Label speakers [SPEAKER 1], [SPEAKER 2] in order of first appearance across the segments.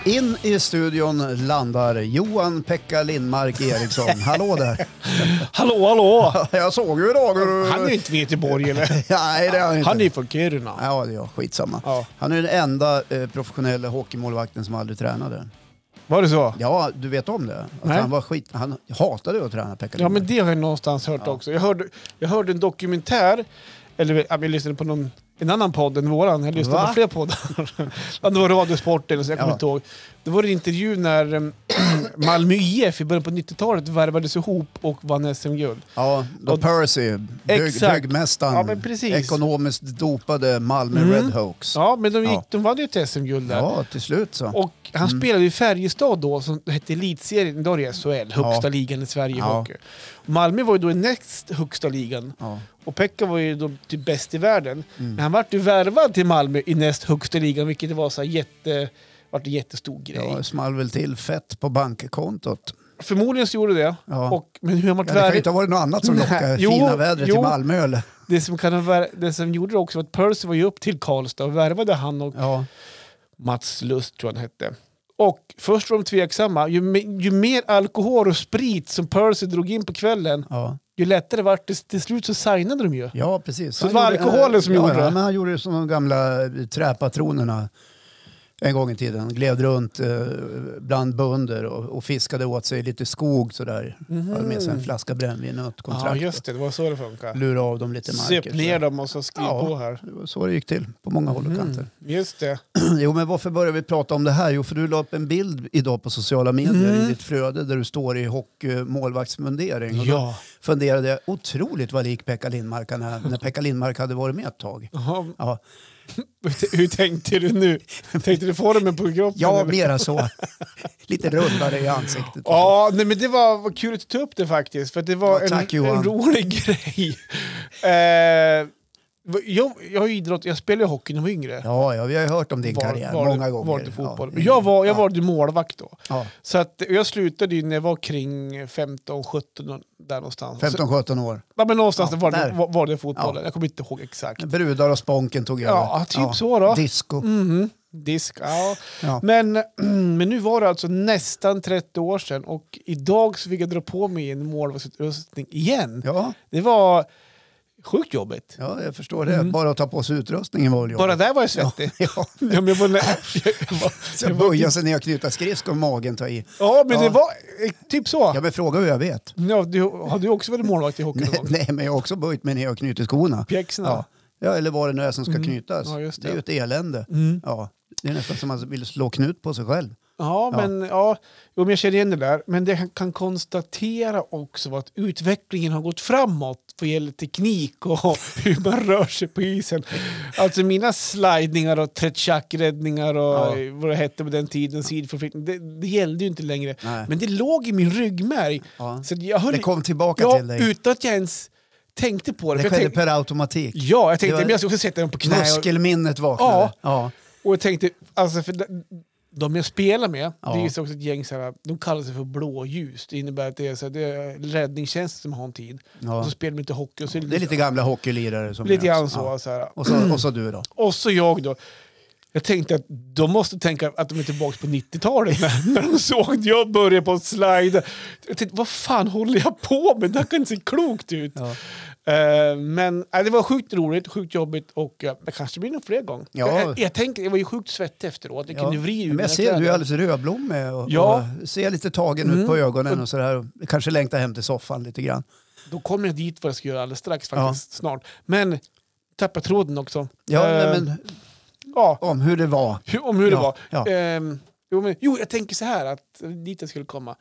[SPEAKER 1] Och in i studion landar Johan Pekka Lindmark Eriksson. Hallå där!
[SPEAKER 2] Hallå, hallå!
[SPEAKER 1] Jag såg ju idag hur du...
[SPEAKER 2] Han är ju inte från Göteborg eller?
[SPEAKER 1] Nej, det är han inte.
[SPEAKER 2] Han är ju från Kiruna.
[SPEAKER 1] Ja, det är jag. skitsamma.
[SPEAKER 2] Ja.
[SPEAKER 1] Han är den enda eh, professionella hockeymålvakten som aldrig tränade.
[SPEAKER 2] Var det så?
[SPEAKER 1] Ja, du vet om det? Att
[SPEAKER 2] Nej.
[SPEAKER 1] han, var skit... han hatade ju att träna Pekka
[SPEAKER 2] Ja,
[SPEAKER 1] Lindmark.
[SPEAKER 2] men det har jag någonstans hört också. Jag hörde, jag hörde en dokumentär, eller ja, vi lyssnade på någon, en annan podd än våran. Jag lyssnade
[SPEAKER 1] Va?
[SPEAKER 2] på fler poddar. Ja, det var Radiosporten, så jag kommer
[SPEAKER 1] Ja.
[SPEAKER 2] inte ihåg. Det var en intervju när em, Malmö IF i början på 90-talet värvades ihop och vann SM-guld.
[SPEAKER 1] Ja, då
[SPEAKER 2] Och-
[SPEAKER 1] Percy, bygg,
[SPEAKER 2] Exakt.
[SPEAKER 1] byggmästaren,
[SPEAKER 2] Ja, men precis.
[SPEAKER 1] ekonomiskt dopade Malmö
[SPEAKER 2] Mm.
[SPEAKER 1] Redhawks. Ja.
[SPEAKER 2] Ja, men de, gick,
[SPEAKER 1] Ja.
[SPEAKER 2] de vann ju ett SM-guld där.
[SPEAKER 1] till slut så.
[SPEAKER 2] Och han
[SPEAKER 1] Mm.
[SPEAKER 2] spelade i Färjestad då, som hette Elitserien. Idag är det SHL, högsta
[SPEAKER 1] Ja.
[SPEAKER 2] ligan i Sverige i
[SPEAKER 1] Ja.
[SPEAKER 2] hockey. Malmö var ju då i näst högsta ligan.
[SPEAKER 1] ja.
[SPEAKER 2] Och Pekka var ju då typ bäst i världen.
[SPEAKER 1] Mm.
[SPEAKER 2] Men han vart ju värvad till Malmö i näst högsta ligan, vilket det var så här jätte... Vart en jättestor grej.
[SPEAKER 1] Ja, det small väl till fett på bankkontot.
[SPEAKER 2] Förmodligen så gjorde det.
[SPEAKER 1] Ja.
[SPEAKER 2] Och, men hur han
[SPEAKER 1] Ja,
[SPEAKER 2] vart
[SPEAKER 1] det kan ju
[SPEAKER 2] värvad...
[SPEAKER 1] inte ha varit något annat som
[SPEAKER 2] Nej.
[SPEAKER 1] lockade
[SPEAKER 2] Jo,
[SPEAKER 1] fina vädret
[SPEAKER 2] jo.
[SPEAKER 1] till Malmö eller?
[SPEAKER 2] Det, som kan ha vär... det som gjorde det också var att Percy var ju upp till Karlstad och värvade han och
[SPEAKER 1] Ja.
[SPEAKER 2] Mats Lust tror jag han hette. Och först var de tveksamma. Ju, me- ju mer alkohol och sprit som Percy drog in på kvällen,
[SPEAKER 1] Ja.
[SPEAKER 2] ju lättare vart det. Till slut så signade de ju.
[SPEAKER 1] ja, precis.
[SPEAKER 2] Så det
[SPEAKER 1] Han
[SPEAKER 2] var
[SPEAKER 1] gjorde-
[SPEAKER 2] alkoholen som
[SPEAKER 1] ja,
[SPEAKER 2] gjorde
[SPEAKER 1] ja,
[SPEAKER 2] det?
[SPEAKER 1] Men han gjorde som de gamla eh, träpatronerna en gång i tiden. Gled runt eh, bland bönder och, och fiskade åt sig lite skog sådär. Hade med sig en flaska brännvin och ett kontrakt.
[SPEAKER 2] Mm. Ja, just det. Det var så det funkar.
[SPEAKER 1] Lura av dem lite marker.
[SPEAKER 2] Söp ner dem och så skriv
[SPEAKER 1] Ja.
[SPEAKER 2] på här. Mm,
[SPEAKER 1] Det var så det gick till på många håll och kanter.
[SPEAKER 2] Just det.
[SPEAKER 1] Jo, men varför börjar vi prata om det här? Jo, för du la upp en bild idag på sociala medier
[SPEAKER 2] Mm.
[SPEAKER 1] i ditt flöde där du står i hockeymålvaktsmundering. Och då
[SPEAKER 2] Ja.
[SPEAKER 1] funderade jag otroligt vad lik Pekka Lindmark han är när Pekka Lindmark hade varit med ett tag.
[SPEAKER 2] Jaha,
[SPEAKER 1] Ja,
[SPEAKER 2] hur tänkte du nu? Tänkte du formen på kroppen?
[SPEAKER 1] jag
[SPEAKER 2] eller?
[SPEAKER 1] mera så. Lite rundare i ansiktet.
[SPEAKER 2] Ja, nej, men det var, var kul att du tog upp det faktiskt. För att det var
[SPEAKER 1] Ja, tack,
[SPEAKER 2] en, en
[SPEAKER 1] Johan.
[SPEAKER 2] rolig grej. Eh, jag, jag har ju idrott, jag spelade ju hockey när jag var yngre.
[SPEAKER 1] Ja, ja, vi har ju hört om din karriär många gånger.
[SPEAKER 2] Valde fotboll.
[SPEAKER 1] Ja.
[SPEAKER 2] Men jag var, jag var målvakt då.
[SPEAKER 1] Ja,
[SPEAKER 2] Så att, och jag slutade ju när jag var kring 15-17 där någonstans. Så,
[SPEAKER 1] 15-17 år.
[SPEAKER 2] ja, men någonstans
[SPEAKER 1] Ja,
[SPEAKER 2] var,
[SPEAKER 1] där.
[SPEAKER 2] det, var, var det fotbollen.
[SPEAKER 1] Ja.
[SPEAKER 2] Jag kommer inte ihåg exakt.
[SPEAKER 1] Brudar och Sponken tog över.
[SPEAKER 2] Ja, typ så då.
[SPEAKER 1] Disco.
[SPEAKER 2] Mhm, disk, ja.
[SPEAKER 1] Ja.
[SPEAKER 2] Men, men nu var det alltså nästan 30 år sedan och idag så fick jag dra på mig en målvaktsutrustning igen.
[SPEAKER 1] Ja,
[SPEAKER 2] Det var sjukt jobbigt.
[SPEAKER 1] ja, jag förstår det. Bara att ta på sig utrustningen var väl
[SPEAKER 2] Mm. Bara
[SPEAKER 1] jobbigt.
[SPEAKER 2] där var jag svettig.
[SPEAKER 1] Ja.
[SPEAKER 2] Ja, men, jag var, nä- jag var, jag
[SPEAKER 1] Så
[SPEAKER 2] var,
[SPEAKER 1] böja sig ner och knyta skridskon, magen ta i.
[SPEAKER 2] ja, men
[SPEAKER 1] Ja.
[SPEAKER 2] det var eh, typ så.
[SPEAKER 1] Ja, men fråga hur jag vet.
[SPEAKER 2] Ja, du, har du också varit målvakt i hockey någon gång?
[SPEAKER 1] Nej, men jag har också böjt mig ner och knutit skorna.
[SPEAKER 2] Pjäxorna?
[SPEAKER 1] Ja. ja, eller vad det nu är som ska knytas.
[SPEAKER 2] Mm. Ja, just Mm.
[SPEAKER 1] det. är ju ett elände. Ja. Det är nästan som man vill slå knut på sig själv.
[SPEAKER 2] Ja,
[SPEAKER 1] Ja.
[SPEAKER 2] men ja, jo, men jag känner igen det där. Men det jag kan konstatera också var att utvecklingen har gått framåt vad gäller teknik och hur man rör sig på isen. Alltså mina slidningar och tretjackräddningar och
[SPEAKER 1] Ja.
[SPEAKER 2] vad det hette på den tiden, sidförflyttning, det, det gällde ju inte längre.
[SPEAKER 1] Nej.
[SPEAKER 2] Men det låg i min ryggmärg.
[SPEAKER 1] Ja.
[SPEAKER 2] Så att jag höll,
[SPEAKER 1] Det kom tillbaka
[SPEAKER 2] ja,
[SPEAKER 1] till dig.
[SPEAKER 2] utan att jag ens tänkte på
[SPEAKER 1] det
[SPEAKER 2] det. För jag
[SPEAKER 1] skedde
[SPEAKER 2] tänk-
[SPEAKER 1] per automatik.
[SPEAKER 2] ja, jag
[SPEAKER 1] Det
[SPEAKER 2] tänkte
[SPEAKER 1] var-
[SPEAKER 2] men jag ska sätta dem på knask.
[SPEAKER 1] Muskelminnet vaknade.
[SPEAKER 2] Ja.
[SPEAKER 1] Ja.
[SPEAKER 2] Och jag tänkte, alltså för de- de jag spelar med,
[SPEAKER 1] Ja.
[SPEAKER 2] det är ju också ett gäng så här, de kallar sig för blåljus. Det innebär att det är, så här, det är räddningstjänsten som har en tid.
[SPEAKER 1] Ja.
[SPEAKER 2] Och så spelar de inte hockey. Och så är
[SPEAKER 1] Det är lite gamla hockeylirare som
[SPEAKER 2] lite grann
[SPEAKER 1] möts.
[SPEAKER 2] så.
[SPEAKER 1] Ja.
[SPEAKER 2] så här.
[SPEAKER 1] Och, så, och så du då.
[SPEAKER 2] Och så jag då. Jag tänkte att de måste tänka att de är tillbaka på 90-talet när, när de såg att jag började på att slide. Jag tänkte, vad fan håller jag på med? Det här kan inte se klokt ut.
[SPEAKER 1] Ja.
[SPEAKER 2] Eh, men eh, det var sjukt roligt, sjukt jobbigt och eh, det kanske blir nog fler gånger.
[SPEAKER 1] Ja.
[SPEAKER 2] Jag, jag, tänkte, jag var ju sjukt svettig efteråt. Jag kunde vrida ur
[SPEAKER 1] Men
[SPEAKER 2] mina
[SPEAKER 1] jag ser, du är
[SPEAKER 2] kläder.
[SPEAKER 1] alldeles rödblommig och,
[SPEAKER 2] Ja. Mm.
[SPEAKER 1] och ser lite tagen ut på ögonen och sådär. Kanske längtar hem till soffan lite grann.
[SPEAKER 2] Då kommer jag dit vad jag ska göra alldeles strax faktiskt, snart. Men tappar tråden också.
[SPEAKER 1] Ja,
[SPEAKER 2] Eh,
[SPEAKER 1] nej, men
[SPEAKER 2] ja
[SPEAKER 1] om hur det var.
[SPEAKER 2] hur, om hur det
[SPEAKER 1] Ja,
[SPEAKER 2] var.
[SPEAKER 1] ja.
[SPEAKER 2] Ehm, jo, men, jo, jag tänker så här att eh, dit jag skulle komma.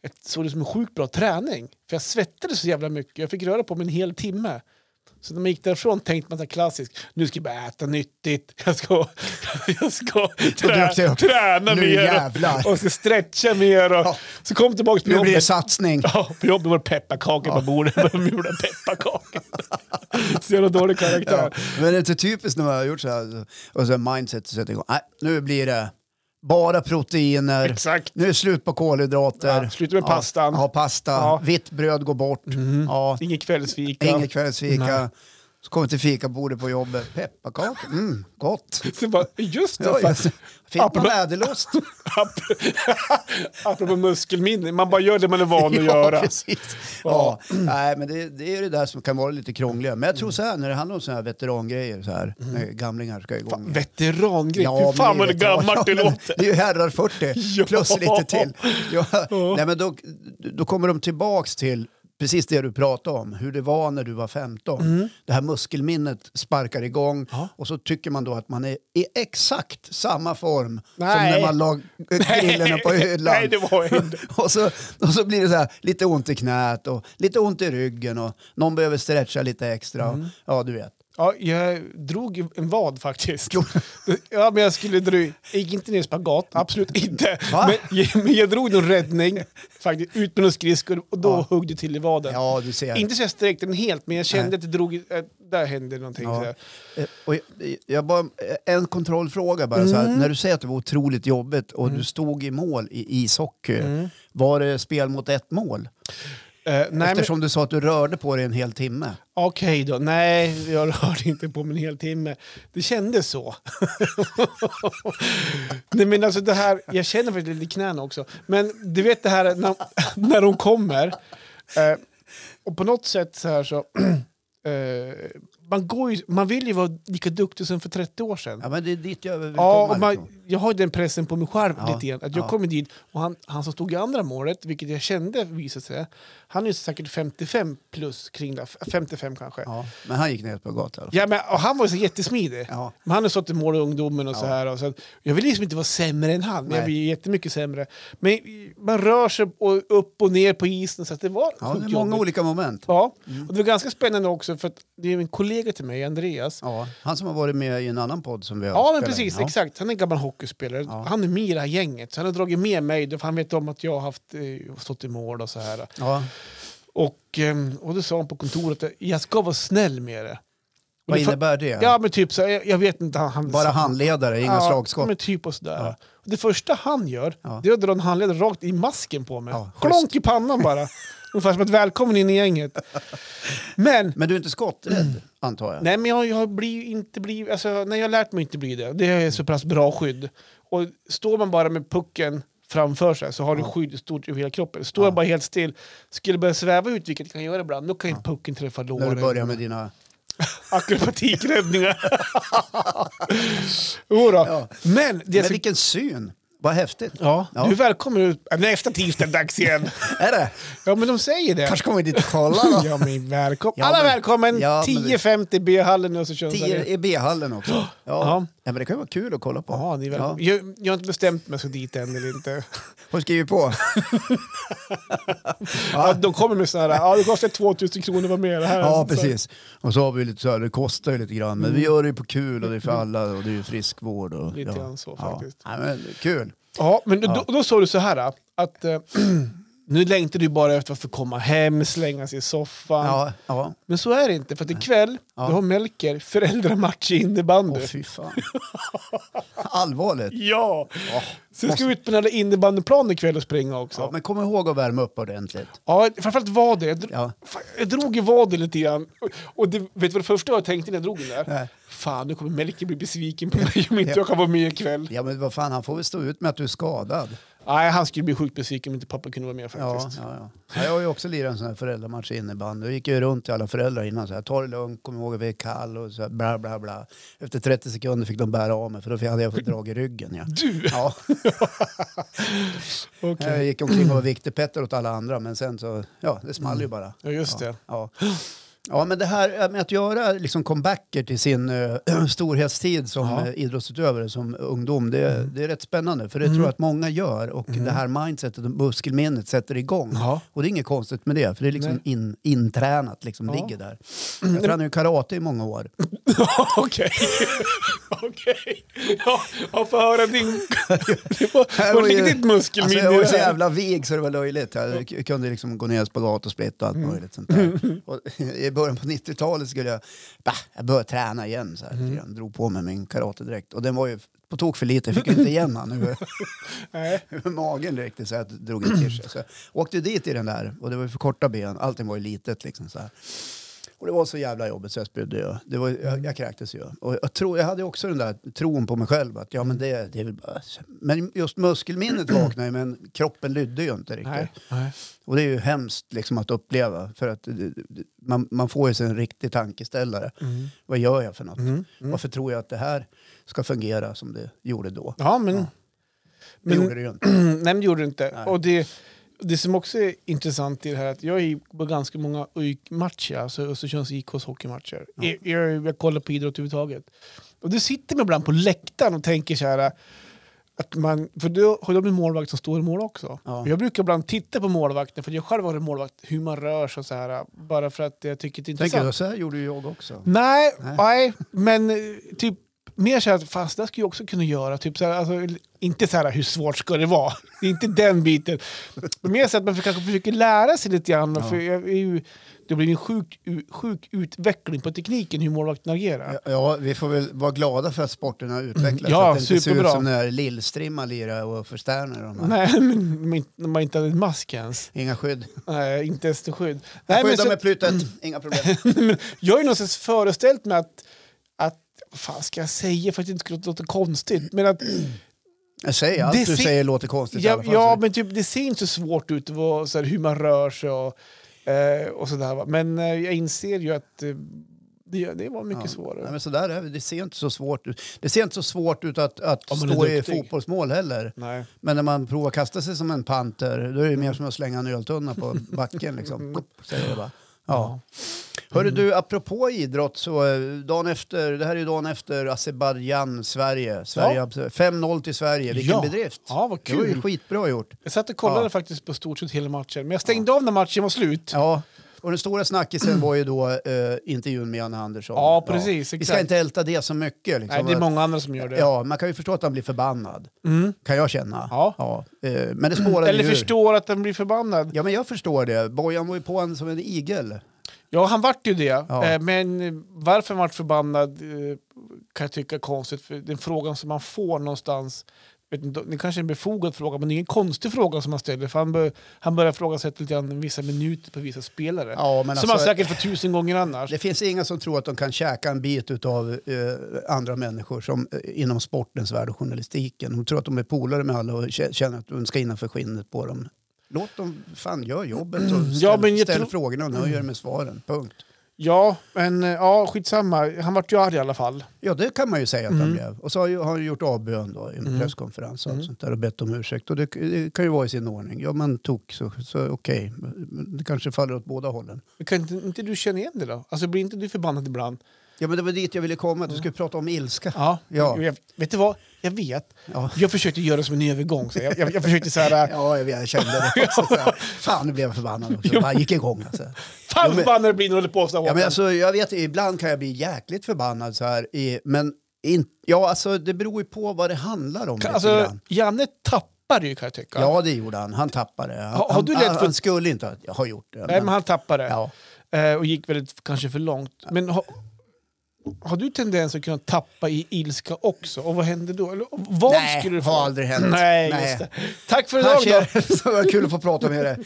[SPEAKER 2] Jag såg det som en sjukt bra träning. För jag svettades så jävla mycket. Jag fick röra på mig en hel timme. Så när man gick därifrån tänkte man så här klassiskt, nu ska jag bara äta nyttigt, jag ska, jag ska
[SPEAKER 1] dök det
[SPEAKER 2] trä,
[SPEAKER 1] upp.
[SPEAKER 2] träna
[SPEAKER 1] Nu
[SPEAKER 2] mer
[SPEAKER 1] jävlar.
[SPEAKER 2] och, och ska stretcha mer. Och,
[SPEAKER 1] Ja.
[SPEAKER 2] Så kom tillbaka till
[SPEAKER 1] Nu blir det
[SPEAKER 2] jobbet.
[SPEAKER 1] satsning.
[SPEAKER 2] Ja, på jobbet var det pepparkakor på bordet. Jag började mula pepparkakor. Så jävla dålig karaktär.
[SPEAKER 1] Ja, men det är inte typiskt när man har gjort så här och så här mindset sätter igång. Nej, nu blir det bara proteiner.
[SPEAKER 2] Exakt.
[SPEAKER 1] Nu är det slut på kolhydrater.
[SPEAKER 2] Ja, sluta med pastan.
[SPEAKER 1] Ja, pasta.
[SPEAKER 2] Ja. Mhm.
[SPEAKER 1] Vitt bröd går bort. Ja,
[SPEAKER 2] Inget kvällsfika.
[SPEAKER 1] inget kvällsfika. Så kom vi till fikabordet på jobbet. Pepparkakor, mm, gott.
[SPEAKER 2] Så bara, just det,
[SPEAKER 1] Ja,
[SPEAKER 2] fan.
[SPEAKER 1] just det. Fick man
[SPEAKER 2] Apropå-
[SPEAKER 1] väderlust?
[SPEAKER 2] Ap- Apropå muskelminne, man bara gör det man är van att
[SPEAKER 1] ja,
[SPEAKER 2] göra.
[SPEAKER 1] precis.
[SPEAKER 2] Ja. Mm.
[SPEAKER 1] Ja. Nej, men det, det är det där som kan vara lite krångligare. Men jag tror så här, när det handlar om såna här veterangrejer, så här, när gamlingar ska igång. igen.
[SPEAKER 2] Veterangrej,
[SPEAKER 1] men
[SPEAKER 2] fy fan vad det
[SPEAKER 1] är veteran.
[SPEAKER 2] gammalt det
[SPEAKER 1] Ja, men
[SPEAKER 2] låter.
[SPEAKER 1] Det är ju herrar 40
[SPEAKER 2] Ja.
[SPEAKER 1] plus lite till. Ja. Nej, men då, då kommer de tillbaks till precis det du pratade om, hur det var när du var 15. Det här muskelminnet sparkar igång
[SPEAKER 2] Mm. Ja.
[SPEAKER 1] och så tycker man då att man är i exakt samma form som
[SPEAKER 2] Nej.
[SPEAKER 1] när man la grillorna på hyllan.
[SPEAKER 2] Nej, det var jag inte.
[SPEAKER 1] och, så, och så blir det så här, lite ont i knät och lite ont i ryggen och någon behöver stretcha lite extra.
[SPEAKER 2] Mm.
[SPEAKER 1] Och, ja, du vet.
[SPEAKER 2] Ja, jag drog ju en vad faktiskt. Ja, men jag skulle dra... Jag gick inte ner i spagat, absolut inte.
[SPEAKER 1] Va?
[SPEAKER 2] Men, men jag drog någon räddning, faktiskt, ut med någon skridskor och då
[SPEAKER 1] Ja.
[SPEAKER 2] högg det till i vaden.
[SPEAKER 1] Ja, du ser.
[SPEAKER 2] Inte så jag sträckte den helt, men jag kände
[SPEAKER 1] Nej.
[SPEAKER 2] att det drog... i- att Där hände någonting.
[SPEAKER 1] Ja.
[SPEAKER 2] sådär.
[SPEAKER 1] Eh, Och jag, jag bara, eh, en kontrollfråga bara. Så
[SPEAKER 2] Mm.
[SPEAKER 1] här, när du säger att det var otroligt jobbigt och du stod i mål i ishockey,
[SPEAKER 2] Mm.
[SPEAKER 1] var det spel mot ett mål?
[SPEAKER 2] Eh, nej, men,
[SPEAKER 1] Eftersom du sa att du rörde på dig en hel timme.
[SPEAKER 2] Okej då, nej, jag rörde inte på mig en hel timme. Det kändes så. nej, men alltså det här, jag känner faktiskt lite i knäna också. Men du vet det här när, när de kommer. Eh, och på något sätt så här så... eh, man, går ju, man vill ju vara lika duktig som för 30 år sedan.
[SPEAKER 1] Ja, men det är dit jag vill
[SPEAKER 2] Ja,
[SPEAKER 1] komma.
[SPEAKER 2] och man,
[SPEAKER 1] liksom.
[SPEAKER 2] jag har ju den pressen på mig själv
[SPEAKER 1] Ja,
[SPEAKER 2] lite grann. Att jag
[SPEAKER 1] ja.
[SPEAKER 2] kommer dit och han, han som stod i andra målet, vilket jag kände visade sig, han är ju säkert 55 plus kring det, 55 kanske. Ja.
[SPEAKER 1] ja, men han gick ner på gatan.
[SPEAKER 2] men, och han var ju så jättesmidig.
[SPEAKER 1] Ja.
[SPEAKER 2] Men han har stått i mål i ungdomen och så här. Och så att, jag vill liksom inte vara sämre än han, men jag
[SPEAKER 1] Nej.
[SPEAKER 2] blir jättemycket sämre. Men man rör sig och, upp och ner på isen så att det var
[SPEAKER 1] Ja, det är
[SPEAKER 2] sjukt
[SPEAKER 1] många Mm.
[SPEAKER 2] jobbigt.
[SPEAKER 1] olika moment.
[SPEAKER 2] Ja, och det var ganska spännande också för att det är en kollega till mig, Andreas,
[SPEAKER 1] Ja, han som har varit med i en annan podd som vi har
[SPEAKER 2] Ja, men
[SPEAKER 1] spelat in.
[SPEAKER 2] precis.
[SPEAKER 1] Ja.
[SPEAKER 2] Exakt. Han är en gammal hockeyspelare.
[SPEAKER 1] Ja.
[SPEAKER 2] Han är med i det här gänget. Så han har dragit med mig, då, för han vet om att jag har haft, eh, stått i mål och så här.
[SPEAKER 1] Ja.
[SPEAKER 2] Och, ehm, och då sa han på kontoret att jag ska vara snäll med det. Och
[SPEAKER 1] Vad
[SPEAKER 2] det fa-
[SPEAKER 1] innebär det?
[SPEAKER 2] Ja, men typ så här, jag, jag vet inte. Han, han,
[SPEAKER 1] Bara handledare, inga
[SPEAKER 2] ja,
[SPEAKER 1] slagskott?
[SPEAKER 2] Men typ och sådär.
[SPEAKER 1] Ja.
[SPEAKER 2] Och det första han gör,
[SPEAKER 1] Ja.
[SPEAKER 2] det är att dra en handledare rakt i masken på mig.
[SPEAKER 1] Ja,
[SPEAKER 2] Klonk i pannan bara. Ungefär som ett välkommen in i gänget. Men
[SPEAKER 1] Men du är inte skotträdd, antar jag?
[SPEAKER 2] Nej, men jag, jag blir ju inte bli, alltså, nej, jag har lärt mig inte bli det. Det är så pass bra skydd. Och står man bara med pucken framför sig så har du skydd i stort över hela kroppen. Står jag bara helt still, skulle börja sväva ut, vilket jag kan göra ibland, då kan ju pucken träffa låren.
[SPEAKER 1] När du börjar med dina...
[SPEAKER 2] Akrobatikräddningar. jo då.
[SPEAKER 1] Ja.
[SPEAKER 2] Men, det är
[SPEAKER 1] Men
[SPEAKER 2] så,
[SPEAKER 1] vilken syn! Vad häftigt!
[SPEAKER 2] ja,
[SPEAKER 1] Ja.
[SPEAKER 2] du är välkommen ut. Äh, Nästa tisdag är det dags igen.
[SPEAKER 1] Är det?
[SPEAKER 2] ja, men de säger det.
[SPEAKER 1] kanske kommer dit och kollar. då.
[SPEAKER 2] Ja, men välkommen.
[SPEAKER 1] Ja,
[SPEAKER 2] Alla
[SPEAKER 1] men-
[SPEAKER 2] välkommen!
[SPEAKER 1] Ja, men det-
[SPEAKER 2] 10.50 B-hallen i Östersund.
[SPEAKER 1] Tio i B-hallen också. Ja.
[SPEAKER 2] Ja.
[SPEAKER 1] Ja. men det kan ju vara kul att kolla på.
[SPEAKER 2] Ja, ni är väl...
[SPEAKER 1] Ja.
[SPEAKER 2] jag, jag har inte bestämt mig så dit än eller inte.
[SPEAKER 1] Hon skriver på.
[SPEAKER 2] Ja. de kommer med sådana här, ja det kostar 2000 kronor, vad mer är det här?
[SPEAKER 1] Ja,
[SPEAKER 2] Så- Mm.
[SPEAKER 1] precis. Och så har vi lite så här, det kostar ju lite grann, men vi gör det ju på kul och det är för alla och det är ju friskvård. Och,
[SPEAKER 2] Lite
[SPEAKER 1] ja.
[SPEAKER 2] grann så,
[SPEAKER 1] Ja.
[SPEAKER 2] faktiskt.
[SPEAKER 1] Ja, men, kul.
[SPEAKER 2] Ja, men då, då, sa du så här att eh, nu längtar du bara efter att få komma hem, slänga sig i soffan.
[SPEAKER 1] Ja, ja.
[SPEAKER 2] Men så är det inte, för att ikväll
[SPEAKER 1] Ja.
[SPEAKER 2] då har Melker föräldramatch i innebandy.
[SPEAKER 1] Åh, fy fan. Allvarligt.
[SPEAKER 2] ja! Sen ska vi ut på den här innebandyplanen ikväll och springa också.
[SPEAKER 1] Ja,
[SPEAKER 2] Ja,
[SPEAKER 1] men kom ihåg att värma upp ordentligt.
[SPEAKER 2] framförallt vad det. Jag, dro-
[SPEAKER 1] Ja.
[SPEAKER 2] fan, jag drog i vaden lite grann. Och- Och det, vet du vad det första jag tänkte när jag drog den där?
[SPEAKER 1] Nej.
[SPEAKER 2] Fan, nu kommer Melker bli besviken på mig om inte jag kan vara med ikväll.
[SPEAKER 1] Ja, men vad fan, han får väl stå ut med att du är skadad.
[SPEAKER 2] Nej, han skulle bli sjukt besviken om inte pappa kunde vara med
[SPEAKER 1] Ja,
[SPEAKER 2] faktiskt.
[SPEAKER 1] ja, ja. Ja, jag har ju också lirat en sån här föräldramatch i innebandy. Jag gick ju runt till alla föräldrar innan. Så här, Ta det lugnt, kom ihåg att vi är kall och så här, bla bla bla. Efter 30 sekunder fick de bära av mig för då hade jag fått drag i ryggen. Ja.
[SPEAKER 2] Du!
[SPEAKER 1] Ja,
[SPEAKER 2] Okej.
[SPEAKER 1] jag gick omkring och var viktigpetter åt alla andra men sen så, ja det small
[SPEAKER 2] Mm.
[SPEAKER 1] ju bara.
[SPEAKER 2] Ja, just det.
[SPEAKER 1] Ja. Ja, men det här med att göra liksom comebacker till sin eh, storhetstid som
[SPEAKER 2] Ja. Mm.
[SPEAKER 1] eh, idrottsutövare, som ungdom, det, det är rätt spännande. För det tror jag att många gör och det här mindsetet och muskelminnet sätter igång.
[SPEAKER 2] Ja.
[SPEAKER 1] Och det är inget konstigt med det, för det är liksom
[SPEAKER 2] Nej.
[SPEAKER 1] in, intränat, liksom
[SPEAKER 2] Ja.
[SPEAKER 1] ligger där. Jag tränade ju karate i många år.
[SPEAKER 2] Okej. Okej. Ja, jag får höra din... Var
[SPEAKER 1] var ju-
[SPEAKER 2] ligger ditt
[SPEAKER 1] Alltså,
[SPEAKER 2] muskelminne
[SPEAKER 1] jag var
[SPEAKER 2] i
[SPEAKER 1] ju
[SPEAKER 2] det
[SPEAKER 1] så
[SPEAKER 2] här?
[SPEAKER 1] jävla vig så det var löjligt. Jag k- kunde liksom gå ner i spagat och split och allt möjligt sånt där. Och, I början på 90-talet skulle jag, bah, jag började träna igen. Så här, lite grann. Drog på mig min karatedräkt. Och den var ju på tok för lite, jag fick ju inte igen han över,
[SPEAKER 2] Nej.
[SPEAKER 1] över magen riktigt så jag drog en till sig. Så jag åkte dit i den där och det var ju för korta ben, allting var ju litet liksom så här. Och det var så jävla jobbigt så jag spydde ju. Det var, jag, jag kräktes ju. Och jag, tror, jag hade också den där tron på mig själv att ja men det, det är väl bara... Men just muskelminnet vaknade ju men kroppen lydde ju inte riktigt.
[SPEAKER 2] Nej. Nej.
[SPEAKER 1] Och det är ju hemskt liksom, att uppleva för att det- det- man, man får ju sig en riktig tankeställare.
[SPEAKER 2] Mm.
[SPEAKER 1] Vad gör jag för något? Varför tror jag att det här ska fungera som det gjorde då?
[SPEAKER 2] Ja, men...
[SPEAKER 1] Det
[SPEAKER 2] men-
[SPEAKER 1] gjorde det ju inte.
[SPEAKER 2] Nej, men det gjorde du inte.
[SPEAKER 1] Nej.
[SPEAKER 2] Och det, det som också är intressant i det här är att jag är ju på ganska många UIK-matcher, alltså Östersunds IKs hockeymatcher. Jag, jag, jag kollar på idrott överhuvudtaget. Och det sitter man ibland på läktaren och tänker så här, att man, för då har de en målvakt som står i mål också.
[SPEAKER 1] Ja.
[SPEAKER 2] Och Jag brukar ibland titta på målvakten, för jag själv har en målvakt, hur man rör sig och så här, bara för att jag tycker det är intressant.
[SPEAKER 1] Tänker du, så här gjorde ju jag också.
[SPEAKER 2] Nej,
[SPEAKER 1] Nej.
[SPEAKER 2] nej. men eh, typ mer så här, att, fast det här skulle jag också kunna göra. Typ så här, alltså, inte så här, hur svårt ska det vara? Det är inte den biten. Men mer så att man kanske försöker lära sig lite grann. För jag är ju, det blir en sjuk, u- sjuk utveckling på tekniken, hur målvakten agerar.
[SPEAKER 1] Ja, Ja, vi får väl vara glada för att sporten har utvecklats.
[SPEAKER 2] Mm. Ja,
[SPEAKER 1] att det inte ser ut
[SPEAKER 2] superbra.
[SPEAKER 1] som när Lillstrimma lirade och Försterner och de här.
[SPEAKER 2] Nej, men men när man inte hade en mask ens.
[SPEAKER 1] Inga skydd.
[SPEAKER 2] Nej, inte ens till skydd.
[SPEAKER 1] Nej,
[SPEAKER 2] Nej, men
[SPEAKER 1] Skydda
[SPEAKER 2] så, Mm.
[SPEAKER 1] med plutet, inga problem.
[SPEAKER 2] men jag har ju någonstans föreställt mig att, att vad fan ska jag säga för att det inte ska låta konstigt? Men att
[SPEAKER 1] Jag säger, allt
[SPEAKER 2] Det
[SPEAKER 1] du
[SPEAKER 2] ser-
[SPEAKER 1] säger låter konstigt i
[SPEAKER 2] Ja,
[SPEAKER 1] alla fall.
[SPEAKER 2] ja
[SPEAKER 1] så-
[SPEAKER 2] men typ, det ser inte så svårt ut vad, så här, hur man rör sig och, eh, och sådär. va. Men eh, jag inser ju att eh, det, det var mycket svårare.
[SPEAKER 1] Nej, men sådär är det. Det ser inte så svårt ut. Det ser inte så svårt ut att, att
[SPEAKER 2] Om man är
[SPEAKER 1] stå i
[SPEAKER 2] duktig.
[SPEAKER 1] fotbollsmål heller.
[SPEAKER 2] Nej.
[SPEAKER 1] Men när man provar att kasta sig som en panter, då är det mer som att slänga en öltunna på backen. Liksom.
[SPEAKER 2] Mm.
[SPEAKER 1] Plopp, säger det bara. Ja. Hörru du, apropå idrott, så eh, dagen efter, det här är ju dagen efter Azerbajdzjan, Sverige. Sverige
[SPEAKER 2] Ja.
[SPEAKER 1] absolut. 5-0 till Sverige, vilken
[SPEAKER 2] Ja.
[SPEAKER 1] bedrift!
[SPEAKER 2] Ja, vad
[SPEAKER 1] Det var ju
[SPEAKER 2] kul.
[SPEAKER 1] skitbra gjort.
[SPEAKER 2] Jag satt och kollade
[SPEAKER 1] Ja.
[SPEAKER 2] faktiskt på stort sett hela matchen, men jag stängde av när matchen var slut.
[SPEAKER 1] Ja, och den stora snackisen var ju då eh, intervjun med Janne Andersson.
[SPEAKER 2] Ja, precis,
[SPEAKER 1] Vi ska
[SPEAKER 2] exakt.
[SPEAKER 1] inte älta det så mycket. Liksom.
[SPEAKER 2] Nej, det är många andra som gör det.
[SPEAKER 1] Ja, man kan ju förstå att han blir förbannad. Kan jag känna.
[SPEAKER 2] Ja.
[SPEAKER 1] eh, Men det spårade
[SPEAKER 2] Eller
[SPEAKER 1] ju ur.
[SPEAKER 2] förstår att den blir förbannad.
[SPEAKER 1] Ja, men jag förstår det. Bojan var ju på en som en igel.
[SPEAKER 2] Ja, han vart ju det.
[SPEAKER 1] Ja.
[SPEAKER 2] Eh, Men eh, varför han vart förbannad eh, kan jag tycka är konstigt. För den frågan som man får någonstans, vet inte, det kanske är en befogad fråga, men det är en konstig fråga som man ställer. För han, bör, han börjar ifrågasätta lite grann vissa minuter på vissa spelare.
[SPEAKER 1] Ja, men
[SPEAKER 2] som
[SPEAKER 1] alltså-
[SPEAKER 2] han säkert får tusen gånger annars.
[SPEAKER 1] Det finns inga som tror att de kan käka en bit av andra människor som, eh, inom sportens värld och journalistiken. De tror att de är polare med alla och kä- känner att de ska innanför skinnet på dem. Låt dem fan göra jobbet och ställ,
[SPEAKER 2] men jag
[SPEAKER 1] ställ
[SPEAKER 2] tror-
[SPEAKER 1] frågorna och nöjer er med svaren. Punkt.
[SPEAKER 2] Ja, men eh, ja, skitsamma. Han vart ju arg i alla fall.
[SPEAKER 1] Ja, det kan man ju säga att han blev. Och så har ju- har han gjort avbön då i en presskonferens och allt sånt där och bett om ursäkt. Och det, det kan ju vara i sin ordning. Ja, man tog så, så okej. Men Det kanske faller åt båda hållen.
[SPEAKER 2] Men Kan inte, inte du känna igen det då? Alltså blir inte du förbannad ibland?
[SPEAKER 1] Ja, men det var dit jag ville komma. att Du skulle prata om ilska.
[SPEAKER 2] Ja.
[SPEAKER 1] Ja.
[SPEAKER 2] Jag, vet du vad? Jag vet.
[SPEAKER 1] Ja.
[SPEAKER 2] Jag försökte göra det som en övergång. Så jag, jag, jag försökte så här... eh,
[SPEAKER 1] Ja, jag, jag kände det också. Så här. Fan, nu blev jag förbannad också. Jag bara gick igång alltså.
[SPEAKER 2] Fan
[SPEAKER 1] men-
[SPEAKER 2] vad förbannad det blir när du håller på sådär
[SPEAKER 1] Ja, men alltså, jag vet, ibland kan jag bli jäkligt förbannad så här. I, men in, ja, alltså, det beror ju på vad det handlar om. lite
[SPEAKER 2] alltså,
[SPEAKER 1] grann.
[SPEAKER 2] Janne tappar ju kan jag tycka.
[SPEAKER 1] Ja, det gjorde han. Han tappade det. Han,
[SPEAKER 2] Har- har du
[SPEAKER 1] han,
[SPEAKER 2] lätt
[SPEAKER 1] han,
[SPEAKER 2] för-
[SPEAKER 1] han skulle inte ha- ha gjort det.
[SPEAKER 2] Nej, men han tappade.
[SPEAKER 1] ja.
[SPEAKER 2] Eh, och gick väldigt, kanske för långt. Men ha, har du tendens att kunna tappa i ilska också? Och vad händer då? Eller, vad
[SPEAKER 1] Nej,
[SPEAKER 2] skulle du få?
[SPEAKER 1] har aldrig hänt.
[SPEAKER 2] Nej,
[SPEAKER 1] Nej.
[SPEAKER 2] just det. Tack för
[SPEAKER 1] Här
[SPEAKER 2] idag då.
[SPEAKER 1] ser- så var kul att få prata med dig.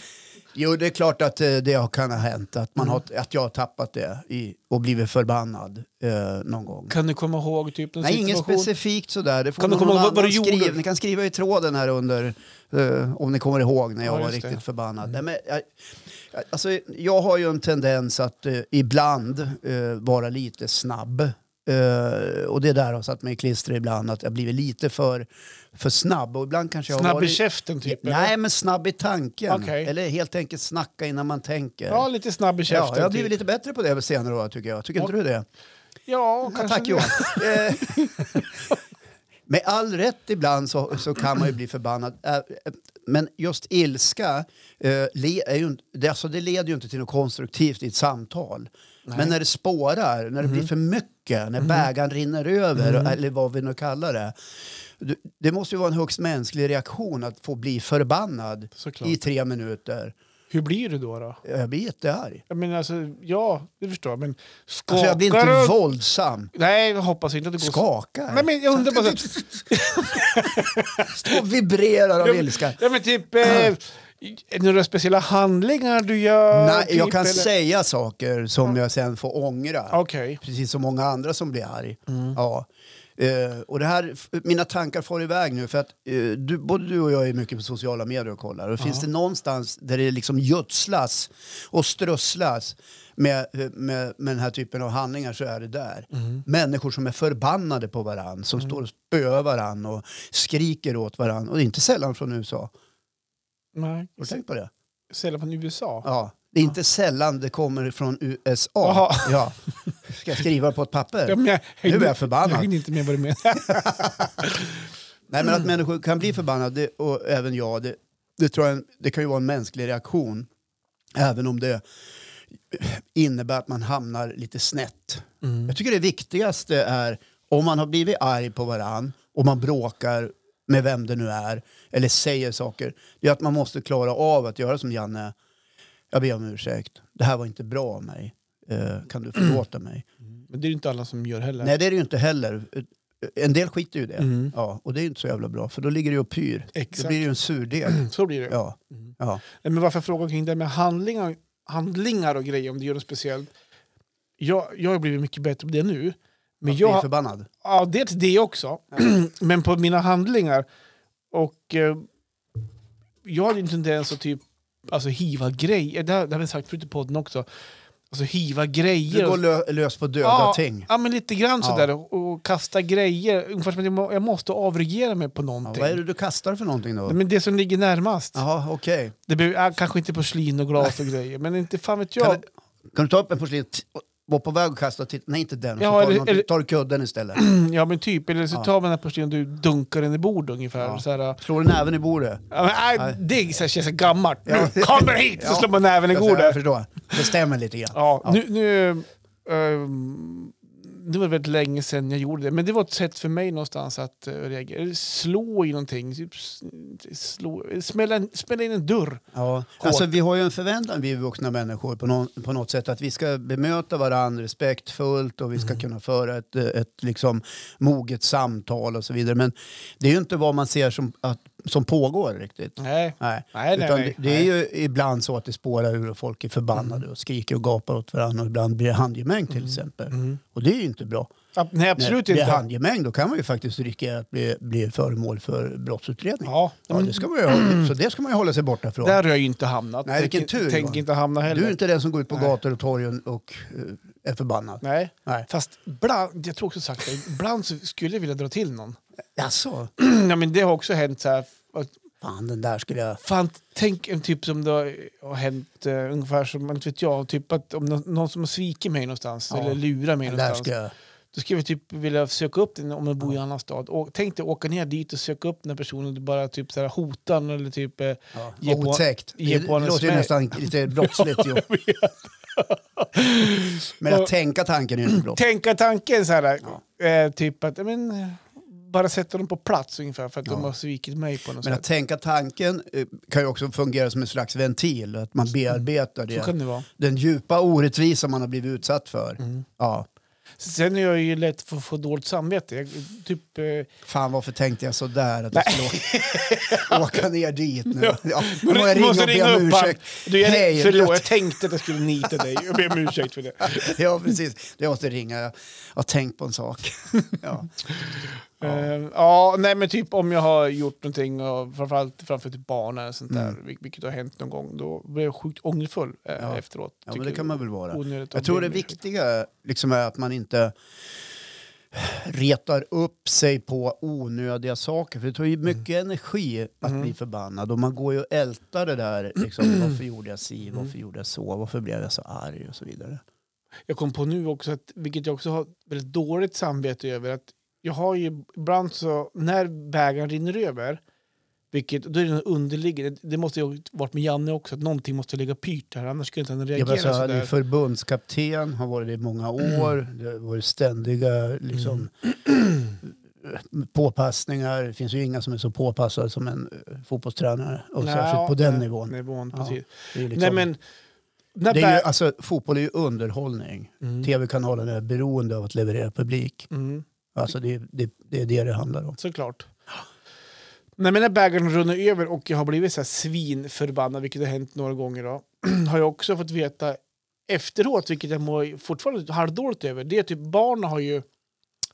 [SPEAKER 1] Jo, det är klart att eh, det kan ha hänt. Att,
[SPEAKER 2] Mm.
[SPEAKER 1] man har, att jag har tappat det i, och blivit förbannad eh, någon gång.
[SPEAKER 2] Kan du komma ihåg typ någon
[SPEAKER 1] Nej, inget
[SPEAKER 2] situation?
[SPEAKER 1] specifikt sådär. Det får
[SPEAKER 2] Kan du
[SPEAKER 1] någon
[SPEAKER 2] komma ihåg vad- vad
[SPEAKER 1] annan
[SPEAKER 2] du gjorde?
[SPEAKER 1] skriva. Ni kan skriva i tråden här under, eh, om ni kommer ihåg när jag
[SPEAKER 2] Ja,
[SPEAKER 1] var
[SPEAKER 2] just det. Mm.
[SPEAKER 1] riktigt förbannad. Nej, men, jag, jag- alltså, jag har ju en tendens att eh, ibland eh, vara lite snabb. Eh, och det där har satt mig i klister ibland, att jag blivit lite för, för snabb. Och ibland kanske jag har
[SPEAKER 2] Snabb i
[SPEAKER 1] varit...
[SPEAKER 2] käften typ? eller?
[SPEAKER 1] Nej, men snabb i tanken.
[SPEAKER 2] Okej.
[SPEAKER 1] Eller helt enkelt snacka innan man tänker.
[SPEAKER 2] Ja, lite snabb i käften.
[SPEAKER 1] Ja, jag har blivit
[SPEAKER 2] typ.
[SPEAKER 1] lite bättre på det över senare år tycker jag. Tycker inte
[SPEAKER 2] Ja.
[SPEAKER 1] du det?
[SPEAKER 2] Ja,
[SPEAKER 1] Ja,
[SPEAKER 2] kanske
[SPEAKER 1] tack
[SPEAKER 2] det.
[SPEAKER 1] Johan. Eh, Med all rätt ibland så, så kan man ju bli förbannad. Eh, eh, Men just ilska, eh, le, är ju, inte- det, alltså det leder ju inte till något konstruktivt i ett samtal. Men när det spårar, när det
[SPEAKER 2] Mhm.
[SPEAKER 1] blir för mycket, när bägaren rinner över, eller vad vi nu kallar det. du- Det måste ju vara en högst mänsklig reaktion att få bli förbannad
[SPEAKER 2] Såklart.
[SPEAKER 1] i tre minuter.
[SPEAKER 2] Hur blir du då? då?
[SPEAKER 1] Jag blir jättearg.
[SPEAKER 2] Jag menar, alltså, ja, det förstår jag. Men skakar
[SPEAKER 1] Alltså jag blir inte
[SPEAKER 2] du-
[SPEAKER 1] våldsam.
[SPEAKER 2] Nej, jag hoppas inte att det går så.
[SPEAKER 1] Skakar.
[SPEAKER 2] Nej, men jag undrar bara... så-
[SPEAKER 1] Står och vibrerar av ilska.
[SPEAKER 2] Ja, men typ, eh, Är det några speciella handlingar du gör?
[SPEAKER 1] Nej, jag
[SPEAKER 2] typ,
[SPEAKER 1] kan
[SPEAKER 2] eller?
[SPEAKER 1] säga saker som jag sen får ångra.
[SPEAKER 2] Okej.
[SPEAKER 1] Precis som många andra som blir arg. Ja. Eh, och det här, f- mina tankar far iväg nu för att eh, du, både du och jag är mycket på sociala medier och kollar. Och Finns det någonstans där det liksom gödslas och strösslas med, eh, med, med den här typen av handlingar så är det där. Människor som är förbannade på varann, som står och spöar varann och skriker åt varann. Och det är inte sällan från USA.
[SPEAKER 2] Nej.
[SPEAKER 1] Har du tänkt på det?
[SPEAKER 2] Sällan från USA?
[SPEAKER 1] Ja. Det är inte sällan det kommer från USA.
[SPEAKER 2] Jaha.
[SPEAKER 1] Ja. Ska jag skriva på ett papper?
[SPEAKER 2] Ja, men jag
[SPEAKER 1] Nu
[SPEAKER 2] hängde,
[SPEAKER 1] är jag förbannad.
[SPEAKER 2] jag hängde inte med vad du menar.
[SPEAKER 1] Nej, men att människor kan bli förbannade, det- och även jag, det, det, tror jag, är en- det kan ju vara en mänsklig reaktion. Även om det innebär att man hamnar lite snett. Jag tycker det viktigaste är om man har blivit arg på varann och man bråkar med vem det nu är eller säger saker. Det är att man måste klara av att göra som Janne. Jag ber om ursäkt. Det här var inte bra av mig. Eh, kan du förlåta mig?
[SPEAKER 2] Men det är ju inte alla som gör heller. Mm.
[SPEAKER 1] Nej, det är det ju inte heller. En del skiter ju i det. Ja, och det är ju inte så jävla bra, för då ligger det ju och pyr.
[SPEAKER 2] Exakt.
[SPEAKER 1] Då blir det ju en surdeg.
[SPEAKER 2] Så blir det.
[SPEAKER 1] Ja.
[SPEAKER 2] Mm.
[SPEAKER 1] Ja.
[SPEAKER 2] Nej, Men varför jag frågar kring det här med handlingar, handlingar och grejer, om det gör något speciellt. Jag, jag har blivit mycket bättre på det nu.
[SPEAKER 1] Jag
[SPEAKER 2] Men
[SPEAKER 1] blir
[SPEAKER 2] jag,
[SPEAKER 1] förbannad.
[SPEAKER 2] ja, det är det också. Men på mina handlingar. Och eh, jag hade ju inte tendens att typ alltså, hiva grejer. Det, här- det har vi sagt förut i podden också. Alltså hiva
[SPEAKER 1] Du
[SPEAKER 2] grejer.
[SPEAKER 1] går lö- lös på döda
[SPEAKER 2] ja,
[SPEAKER 1] ting.
[SPEAKER 2] ja, men lite grann
[SPEAKER 1] Ja.
[SPEAKER 2] sådär. Och, och kasta grejer. Ungefär som att jag, må, jag måste avreagera mig på
[SPEAKER 1] Ja,
[SPEAKER 2] någonting.
[SPEAKER 1] vad är det du kastar för någonting då?
[SPEAKER 2] Nej, Men det som ligger närmast.
[SPEAKER 1] Jaha, okej.
[SPEAKER 2] Det behöver, ja, kanske inte porslin och glas och grejer, men inte fan vet
[SPEAKER 1] Kan,
[SPEAKER 2] jag.
[SPEAKER 1] du- kan du ta upp en porslin, t- och vara på väg att kasta och titta? Nej, inte den.
[SPEAKER 2] Ja,
[SPEAKER 1] så tar,
[SPEAKER 2] eller-
[SPEAKER 1] du någonting-
[SPEAKER 2] eller-
[SPEAKER 1] tar du kudden istället.
[SPEAKER 2] Ja men typ, eller så
[SPEAKER 1] Ja.
[SPEAKER 2] tar man den här porslin och du dunkar den i bordet ungefär.
[SPEAKER 1] Ja.
[SPEAKER 2] Så här, ja,
[SPEAKER 1] Slår du näven i bordet?
[SPEAKER 2] men, nej, det är så här, känns så gammalt.
[SPEAKER 1] Ja.
[SPEAKER 2] Nu, kommer hit! Så
[SPEAKER 1] Ja.
[SPEAKER 2] slår man näven i
[SPEAKER 1] Jag, jag
[SPEAKER 2] bordet.
[SPEAKER 1] förstår. Det stämmer lite grann.
[SPEAKER 2] Ja,
[SPEAKER 1] Ja.
[SPEAKER 2] Nu, nu, ehm, det var väldigt länge sedan jag gjorde det, men det var ett sätt för mig någonstans att eh, reagera. Eller Slå i någonting, typ, s- slå, smälla, en- smälla in en dörr.
[SPEAKER 1] Ja, alltså vi har ju en förväntan vi vuxna människor på, någon, på något sätt att vi ska bemöta varandra respektfullt och vi
[SPEAKER 2] Mm.
[SPEAKER 1] ska kunna föra ett, eh, ett liksom moget samtal och så vidare. Men det är ju inte vad man ser som, att, som pågår riktigt.
[SPEAKER 2] Nej,
[SPEAKER 1] Nej.
[SPEAKER 2] Mm. nej, nej.
[SPEAKER 1] Utan
[SPEAKER 2] nej. Mm.
[SPEAKER 1] det, det är ju ibland så att det spårar ur och folk är förbannade och skriker och gapar åt varandra och ibland blir det handgemäng till exempel. Och det är ju inte bra.
[SPEAKER 2] Ab- nej, Mm. absolut
[SPEAKER 1] När det
[SPEAKER 2] inte.
[SPEAKER 1] är handgemäng då kan man ju faktiskt riskera att bli, bli föremål för brottsutredning. Ja.
[SPEAKER 2] Ja, Mm. men
[SPEAKER 1] det ska man ju, så det ska man ju hålla sig borta från.
[SPEAKER 2] Där har jag ju inte hamnat.
[SPEAKER 1] Nej, vilken
[SPEAKER 2] Tänker-
[SPEAKER 1] tur, Johan.
[SPEAKER 2] Tänker inte hamna heller.
[SPEAKER 1] Du är inte den som går ut på
[SPEAKER 2] Nej.
[SPEAKER 1] gator och torg och- och eh, är förbannad?
[SPEAKER 2] Nej.
[SPEAKER 1] Nej.
[SPEAKER 2] Fast ibland, jag tror också sagt det, ibland så skulle jag vilja dra till någon.
[SPEAKER 1] Jaså?
[SPEAKER 2] ja, men det har också hänt så här. att-
[SPEAKER 1] Fan, den där skulle jag...
[SPEAKER 2] Fan, tänk en typ som det har hänt eh, ungefär som, inte vet jag, typ att om någon, någon som har svikit mig någonstans
[SPEAKER 1] Ja.
[SPEAKER 2] eller lurar mig
[SPEAKER 1] Den där
[SPEAKER 2] någonstans.
[SPEAKER 1] skulle jag...
[SPEAKER 2] Då skulle jag typ vilja söka upp den om jag bor i en annan stad. Och, tänk dig åka ner dit och söka upp den här personen och bara typ så här hota honom eller typ... Eh,
[SPEAKER 1] Ja.
[SPEAKER 2] Ge på-
[SPEAKER 1] Otäckt.
[SPEAKER 2] ge
[SPEAKER 1] det
[SPEAKER 2] på en
[SPEAKER 1] låter ju
[SPEAKER 2] smäll.
[SPEAKER 1] nästan lite brottsligt. ju. Men att tänka tanken är ju inte brott.
[SPEAKER 2] tänka tanken så här. Eh, typ att, ja, men, eh, bara sätta dem på plats ungefär för att de
[SPEAKER 1] Ja.
[SPEAKER 2] har svikit mig på något
[SPEAKER 1] Men
[SPEAKER 2] sätt.
[SPEAKER 1] att tänka tanken eh, kan ju också fungera som en slags ventil. Att man bearbetar
[SPEAKER 2] Så
[SPEAKER 1] det.
[SPEAKER 2] kan det vara.
[SPEAKER 1] Den djupa orättvisa man har blivit utsatt för.
[SPEAKER 2] Mm.
[SPEAKER 1] Ja.
[SPEAKER 2] Sen är jag ju lätt för att få dåligt samvete. Jag, typ, eh,
[SPEAKER 1] Fan varför tänkte jag sådär? Att jag skulle åka, åka ner dit nu. Ja. Må jag
[SPEAKER 2] du
[SPEAKER 1] ringa och be om
[SPEAKER 2] han.
[SPEAKER 1] ursäkt?
[SPEAKER 2] Du, jag,
[SPEAKER 1] Hej,
[SPEAKER 2] förlåt, jag tänkte att jag skulle nita dig och be om ursäkt för det.
[SPEAKER 1] Ja, precis. Jag måste ringa. Jag har tänkt på en sak. Ja.
[SPEAKER 2] Ja, Ehm, ja nej men typ om jag har gjort någonting, och framförallt framför typ barn eller sånt där, vil- vilket har hänt någon gång, då blir jag sjukt ångerfull eh,
[SPEAKER 1] Mm. Ja.
[SPEAKER 2] efteråt.
[SPEAKER 1] ja,
[SPEAKER 2] Tycker
[SPEAKER 1] men det kan man väl vara.
[SPEAKER 2] onödigt att
[SPEAKER 1] Jag tror
[SPEAKER 2] be
[SPEAKER 1] det
[SPEAKER 2] om ursäkt.
[SPEAKER 1] viktiga liksom är att man inte retar upp sig på onödiga saker. För det tar
[SPEAKER 2] Mm.
[SPEAKER 1] ju mycket energi att bli förbannad. Och man går ju och ältar det där. Liksom, varför gjorde jag si?
[SPEAKER 2] Mm.
[SPEAKER 1] Varför gjorde jag så? Varför blev jag så arg? Och så vidare.
[SPEAKER 2] Jag kom på nu också, att, vilket jag också har väldigt dåligt samvete över, att jag har ju ibland så, när vägen rinner över, vilket, då är det något underliggande, det måste ju ha varit med Janne också, att någonting måste ligga pyrt här, annars skulle inte han
[SPEAKER 1] Jag
[SPEAKER 2] reagera
[SPEAKER 1] var så här, alltså, det är
[SPEAKER 2] sådär. Mm.
[SPEAKER 1] förbundskapten, har varit det i många år. Det har varit ständiga liksom,
[SPEAKER 2] Mm.
[SPEAKER 1] påpassningar. Det finns ju inga som är så påpassade som en eh, fotbollstränare. Och
[SPEAKER 2] Nej,
[SPEAKER 1] särskilt på
[SPEAKER 2] ja,
[SPEAKER 1] den
[SPEAKER 2] nej,
[SPEAKER 1] nivån.
[SPEAKER 2] nivån
[SPEAKER 1] Ja,
[SPEAKER 2] precis.
[SPEAKER 1] Det är ju liksom,
[SPEAKER 2] Nej men, när
[SPEAKER 1] det är ju, Mm.
[SPEAKER 2] bä-
[SPEAKER 1] alltså, fotboll är ju underhållning. Tv-kanalen är beroende av att leverera publik.
[SPEAKER 2] mm,
[SPEAKER 1] Alltså, det, är- det, det är det det handlar om.
[SPEAKER 2] såklart. När mina bägaren runnit över och jag har blivit så här svinförbannad, vilket har hänt några gånger, då, har jag också fått veta efteråt, vilket jag mår fortfarande halvdåligt över, det är typ barnen har ju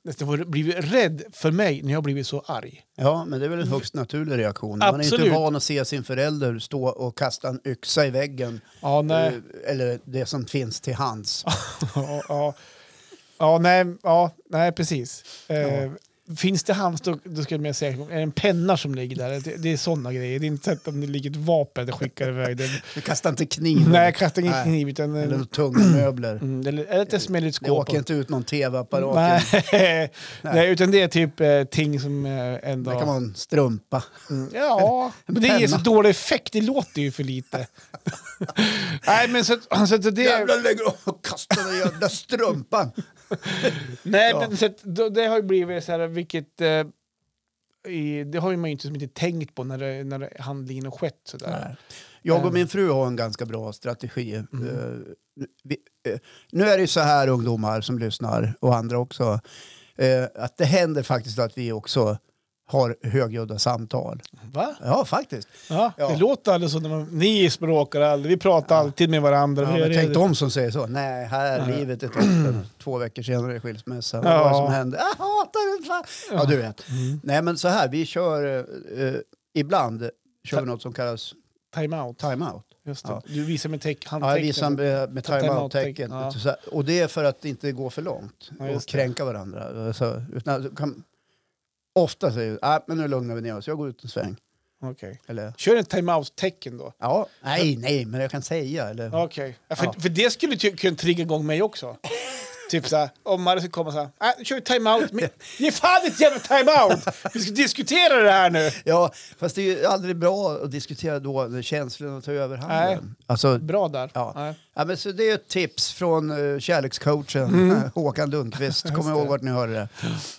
[SPEAKER 2] nästan varit- blivit rädd för mig när jag har blivit så arg.
[SPEAKER 1] Ja, men det är väl en högst naturlig reaktion. Man är ju
[SPEAKER 2] Absolut.
[SPEAKER 1] inte van att se sin förälder stå och kasta en yxa i väggen.
[SPEAKER 2] Ja, nej.
[SPEAKER 1] eh, Eller det som finns till hands.
[SPEAKER 2] ja, ja. ja, nej, ja, nej, precis. Eh, Finns det hands, då, då skulle jag mer säga är det en penna som ligger där. Det, det är sådana grejer. Det är inte så att om det ligger ett vapen och skickar iväg den.
[SPEAKER 1] Du kastar inte kniv.
[SPEAKER 2] Nej, jag kastar ingen
[SPEAKER 1] Nej.
[SPEAKER 2] kniv. Utan, en-
[SPEAKER 1] Eller tunga möbler.
[SPEAKER 2] mm, eller, eller att jag smäller ett
[SPEAKER 1] Det
[SPEAKER 2] skåp.
[SPEAKER 1] åker inte ut någon tv-apparat.
[SPEAKER 2] Nej. Nej, utan det är typ eh, ting som eh, ändå...
[SPEAKER 1] Det kan vara en strumpa.
[SPEAKER 2] Ja, men det ger så
[SPEAKER 1] penna.
[SPEAKER 2] dålig effekt. Det låter ju för lite. Nej, men så, att- så att det...
[SPEAKER 1] Jävlar lägger av och kastar den jävla strumpan.
[SPEAKER 2] Nej,
[SPEAKER 1] Ja.
[SPEAKER 2] men så att, då, det har ju blivit så här, vilket... Eh, i, det har ju man ju inte, som inte tänkt på när, det, när det, handlingen har skett. Så där.
[SPEAKER 1] Jag och
[SPEAKER 2] Eh.
[SPEAKER 1] min fru har en ganska bra strategi. Eh,
[SPEAKER 2] Mm.
[SPEAKER 1] vi, eh, nu är det ju så här ungdomar som lyssnar och andra också. eh, att det händer faktiskt att vi också har högljudda samtal.
[SPEAKER 2] Va?
[SPEAKER 1] Ja, faktiskt.
[SPEAKER 2] Ja,
[SPEAKER 1] Ja.
[SPEAKER 2] Det låter aldrig så. När man, ni språkar aldrig. Vi pratar alltid med varandra.
[SPEAKER 1] Ja,
[SPEAKER 2] Vi är-
[SPEAKER 1] men tänk de som säger så. Nej, här livet är toppen. Två veckor senare är det skilsmässa. Vad var det
[SPEAKER 2] Ja. Mm.
[SPEAKER 1] som hände? Jag hatar det! Fan. Ja, du vet. Nej, men så här. Vi kör... eh, eh, ibland kör vi något som kallas
[SPEAKER 2] Time-out.
[SPEAKER 1] time-out.
[SPEAKER 2] Just det.
[SPEAKER 1] Ja.
[SPEAKER 2] Du visar med teck,
[SPEAKER 1] Ja, jag
[SPEAKER 2] handtecknen.
[SPEAKER 1] visar med, med
[SPEAKER 2] Ta
[SPEAKER 1] time-out-tecken.
[SPEAKER 2] timeout-tecken, ja.
[SPEAKER 1] Så här, Och det är för att inte gå för långt
[SPEAKER 2] Ja,
[SPEAKER 1] och
[SPEAKER 2] just det.
[SPEAKER 1] kränka varandra. Så, utan, du kan, ofta säger du, "Nej, men nu lugnar vi ner oss, jag går ut en sväng.
[SPEAKER 2] Okej.
[SPEAKER 1] Eller,
[SPEAKER 2] Kör en time-out-tecken då.
[SPEAKER 1] ja, nej, nej, men jag kan säga. Eller,
[SPEAKER 2] Okej. Ja, för,
[SPEAKER 1] Ja.
[SPEAKER 2] för det skulle ty- kunna trigga igång mig också. typ såhär, om Marre skulle komma såhär, äh, nu kör vi time-out. Men- Ge fan ett jävla time-out! Vi ska diskutera det här nu!
[SPEAKER 1] Ja, fast det är ju aldrig bra att diskutera då när känslorna tar överhanden. Alltså,
[SPEAKER 2] Bra där.
[SPEAKER 1] Ja.
[SPEAKER 2] Nej.
[SPEAKER 1] ja, men så det är ett tips från uh, kärlekscoachen eh, Håkan Lundqvist. Kom ihåg vart ni hörde det.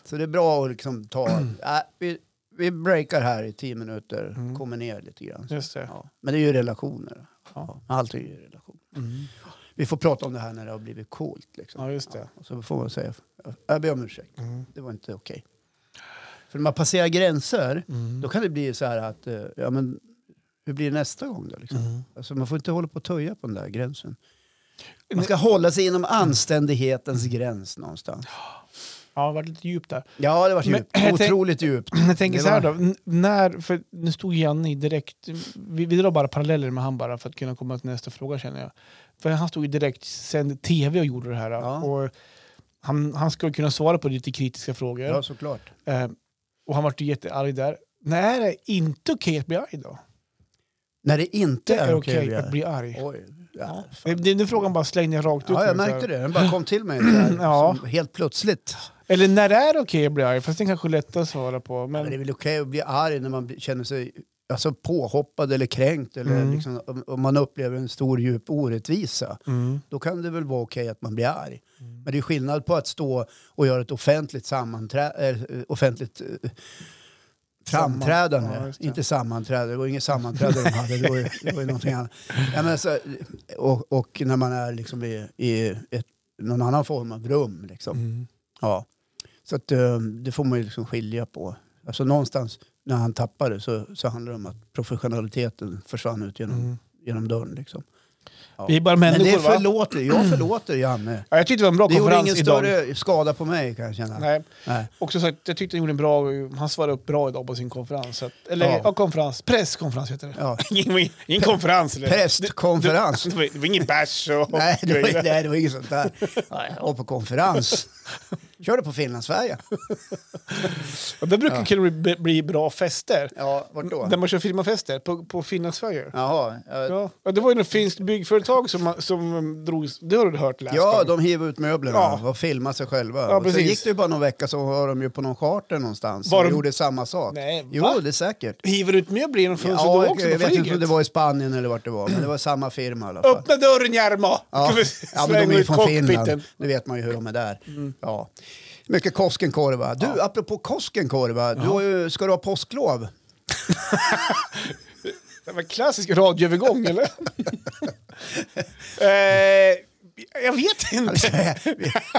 [SPEAKER 1] Så det är bra att liksom ta... äh, vi, vi breakar här i tio minuter, kommer ner lite grann.
[SPEAKER 2] Just det.
[SPEAKER 1] Mm. Ja. Men det är ju relationer. Ja. Allt är ju relationer. Vi får prata om det här när det har blivit coolt. Liksom.
[SPEAKER 2] Ja, just det.
[SPEAKER 1] Och så får man säga, jag ber om ursäkt,
[SPEAKER 2] Mm.
[SPEAKER 1] det var inte okej. För när man passerar gränser,
[SPEAKER 2] Mm.
[SPEAKER 1] då kan det bli så här att, eh, ja men hur blir det nästa gång då? Liksom?
[SPEAKER 2] Mm.
[SPEAKER 1] Alltså, man får inte hålla på och töja på den där gränsen. Man ska hålla sig inom anständighetens gräns någonstans.
[SPEAKER 2] Ja, det har varit lite djupt där.
[SPEAKER 1] Ja, det var
[SPEAKER 2] Men
[SPEAKER 1] djupt.
[SPEAKER 2] jag tänk-
[SPEAKER 1] Otroligt djupt.
[SPEAKER 2] Jag tänker
[SPEAKER 1] Det
[SPEAKER 2] så här då,
[SPEAKER 1] var-
[SPEAKER 2] n- när, för nu stod Janne i direkt, vi, vi drar bara paralleller med han bara för att kunna komma till nästa fråga känner jag. För han stod i direkt sänd tv och gjorde det här.
[SPEAKER 1] Ja.
[SPEAKER 2] Och han, han skulle kunna svara på lite kritiska frågor.
[SPEAKER 1] Ja, såklart.
[SPEAKER 2] Eh, och han vart ju jättearg där. Nej, det är inte okej att bli arg då.
[SPEAKER 1] När det inte
[SPEAKER 2] Det är okej
[SPEAKER 1] vi
[SPEAKER 2] att
[SPEAKER 1] är.
[SPEAKER 2] bli arg.
[SPEAKER 1] Oj. Ja, fan.
[SPEAKER 2] Det- det- Den frågan bara slängde jag rakt ut.
[SPEAKER 1] Ja, jag
[SPEAKER 2] nu, så här.
[SPEAKER 1] märkte det. Den bara kom till mig så här,
[SPEAKER 2] Ja.
[SPEAKER 1] som helt plötsligt.
[SPEAKER 2] Eller när det är okej att bli arg, fast den kanske är lättare att svara på.
[SPEAKER 1] Men det är
[SPEAKER 2] Men,
[SPEAKER 1] väl okej att bli arg när man blir- känner sig alltså, påhoppad eller kränkt eller
[SPEAKER 2] Mm.
[SPEAKER 1] liksom, om, om man upplever en stor djup orättvisa.
[SPEAKER 2] mm.
[SPEAKER 1] Då kan det väl vara okej att man blir arg. Men det är skillnad på att stå och göra ett offentligt, sammanträ- eh, offentligt eh,
[SPEAKER 2] Samman-
[SPEAKER 1] framträdande.
[SPEAKER 2] Ja, just det.
[SPEAKER 1] inte sammanträde, det var inget sammanträde de hade, det var ju, det var ju någonting annat. Ja, men alltså, och, och när man är liksom i, i ett, någon annan form av rum. Liksom.
[SPEAKER 2] Mm.
[SPEAKER 1] Ja. Så att, eh, det får man ju liksom skilja på. Alltså någonstans när han tappade så, så handlar det om att professionaliteten försvann ut genom,
[SPEAKER 2] Mm.
[SPEAKER 1] genom dörren. Liksom. Ja.
[SPEAKER 2] Vi är bara
[SPEAKER 1] Men det
[SPEAKER 2] människor va?
[SPEAKER 1] förlåter, jag förlåter Janne.
[SPEAKER 2] Ja, jag tyckte det var en bra
[SPEAKER 1] Det gjorde
[SPEAKER 2] konferens
[SPEAKER 1] ingen
[SPEAKER 2] idag.
[SPEAKER 1] större skada på mig kan jag känna. Nej.
[SPEAKER 2] Nej. Och som sagt, jag tyckte han gjorde en bra, han svarade upp bra idag på sin konferens. Så att, eller
[SPEAKER 1] Ja.
[SPEAKER 2] ja. konferens, presskonferens heter det.
[SPEAKER 1] Ja.
[SPEAKER 2] ingen, ingen konferens. Eller?
[SPEAKER 1] Prästkonferens.
[SPEAKER 2] Det, det, var- det var ingen bärs och
[SPEAKER 1] Nej, det var,
[SPEAKER 2] grejer.
[SPEAKER 1] nej, det var inget sånt där. Jag var på konferens. Körde på Finlandsfärjan.
[SPEAKER 2] Och det brukar kunna bli, bli bra fester.
[SPEAKER 1] Ja, vart då?
[SPEAKER 2] När man kör firmafester på, på Finlandsfärjor.
[SPEAKER 1] Jaha. Ja,
[SPEAKER 2] Ja. Ja, det var ju något finskt byggföretag som, som um, drog... Det har du hört läst
[SPEAKER 1] ja
[SPEAKER 2] om.
[SPEAKER 1] de hiv ut möblerna
[SPEAKER 2] Ja.
[SPEAKER 1] och filmade sig själva.
[SPEAKER 2] Ja,
[SPEAKER 1] Och Sen
[SPEAKER 2] precis.
[SPEAKER 1] gick det ju bara någon vecka så var de ju på någon charter någonstans.
[SPEAKER 2] Var
[SPEAKER 1] och
[SPEAKER 2] de-
[SPEAKER 1] gjorde samma sak.
[SPEAKER 2] Nej,
[SPEAKER 1] jo,
[SPEAKER 2] va?
[SPEAKER 1] det är säkert.
[SPEAKER 2] Hiver ut möbler genom fönstret
[SPEAKER 1] Ja,
[SPEAKER 2] då också
[SPEAKER 1] jag, jag
[SPEAKER 2] på
[SPEAKER 1] vet
[SPEAKER 2] flyget.
[SPEAKER 1] inte om det var i Spanien eller vart det var, men det var samma firma i alla fall.
[SPEAKER 2] Öppna dörren Jarmo!
[SPEAKER 1] Ja.
[SPEAKER 2] Kan vi
[SPEAKER 1] ja, men
[SPEAKER 2] slänga
[SPEAKER 1] de är ju
[SPEAKER 2] ut
[SPEAKER 1] från
[SPEAKER 2] cockpiten? Mm.
[SPEAKER 1] Finland. Nu vet man ju hur de är där. Ja. Mycket Koskenkorva. Du, apropå Koskenkorva, du har ju, ska du ha påsklov?
[SPEAKER 2] Det var en klassisk radioövergång, eller? eh, jag vet inte.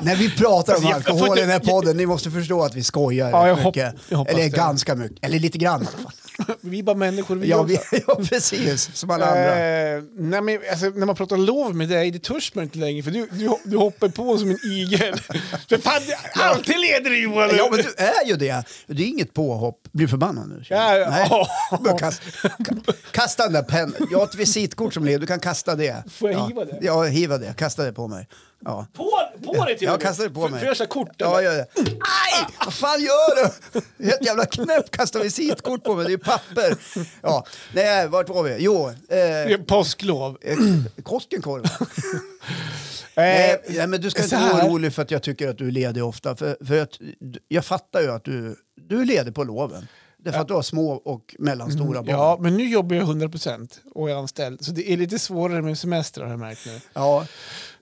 [SPEAKER 1] När vi pratar om
[SPEAKER 2] Alltså, jag- jag får
[SPEAKER 1] alkohol i
[SPEAKER 2] inte-
[SPEAKER 1] den här podden, ni måste förstå att vi skojar
[SPEAKER 2] Ja, jag
[SPEAKER 1] rätt mycket.
[SPEAKER 2] hopp- jag hoppas
[SPEAKER 1] Eller
[SPEAKER 2] det.
[SPEAKER 1] ganska mycket, eller lite grann i alla fall.
[SPEAKER 2] vi är bara människor vi
[SPEAKER 1] Ja,
[SPEAKER 2] också.
[SPEAKER 1] vi, ja, precis. Som alla andra.
[SPEAKER 2] Eh, nej, men, alltså, när man pratar lov med dig, det törs man inte längre för du, du, hop- du hoppar på som en igel. för fan, det- alltid leder du Johan!
[SPEAKER 1] Ja, men du är ju det. Det är inget påhopp. Blir förbannad nu?
[SPEAKER 2] Ja, ja.
[SPEAKER 1] Nej.
[SPEAKER 2] Åh.
[SPEAKER 1] Bara Kast, ka- kasta den där pennan. Jag har ett visitkort som ligger. Du kan kasta det.
[SPEAKER 2] Får jag
[SPEAKER 1] ja.
[SPEAKER 2] hiva det?
[SPEAKER 1] Ja, hiva det. Kasta det på mig. Ja.
[SPEAKER 2] På, på dig till
[SPEAKER 1] Jag
[SPEAKER 2] och med.
[SPEAKER 1] kastar det på
[SPEAKER 2] För-
[SPEAKER 1] mig.
[SPEAKER 2] För jag kör kort.
[SPEAKER 1] Ja, gör det. Aj! Vad fan gör du? Ett jävla knäpp kastar visitkort på mig. Det är ju papper. Ja. Nej, vart var vi? Jo, eh,
[SPEAKER 2] eller? Påsklov.
[SPEAKER 1] eh, Koskenkorv.
[SPEAKER 2] Eh,
[SPEAKER 1] Nej, nej, men du ska inte
[SPEAKER 2] så här.
[SPEAKER 1] vara orolig för att jag tycker att du är ledig ofta. För, för att, jag fattar ju att du, du är ledig på loven. Det är för att du har små och mellanstora barn.
[SPEAKER 2] Mm, Ja, men nu jobbar jag 100% och är anställd. Så det är lite svårare med semester har jag märkt nu.
[SPEAKER 1] Ja.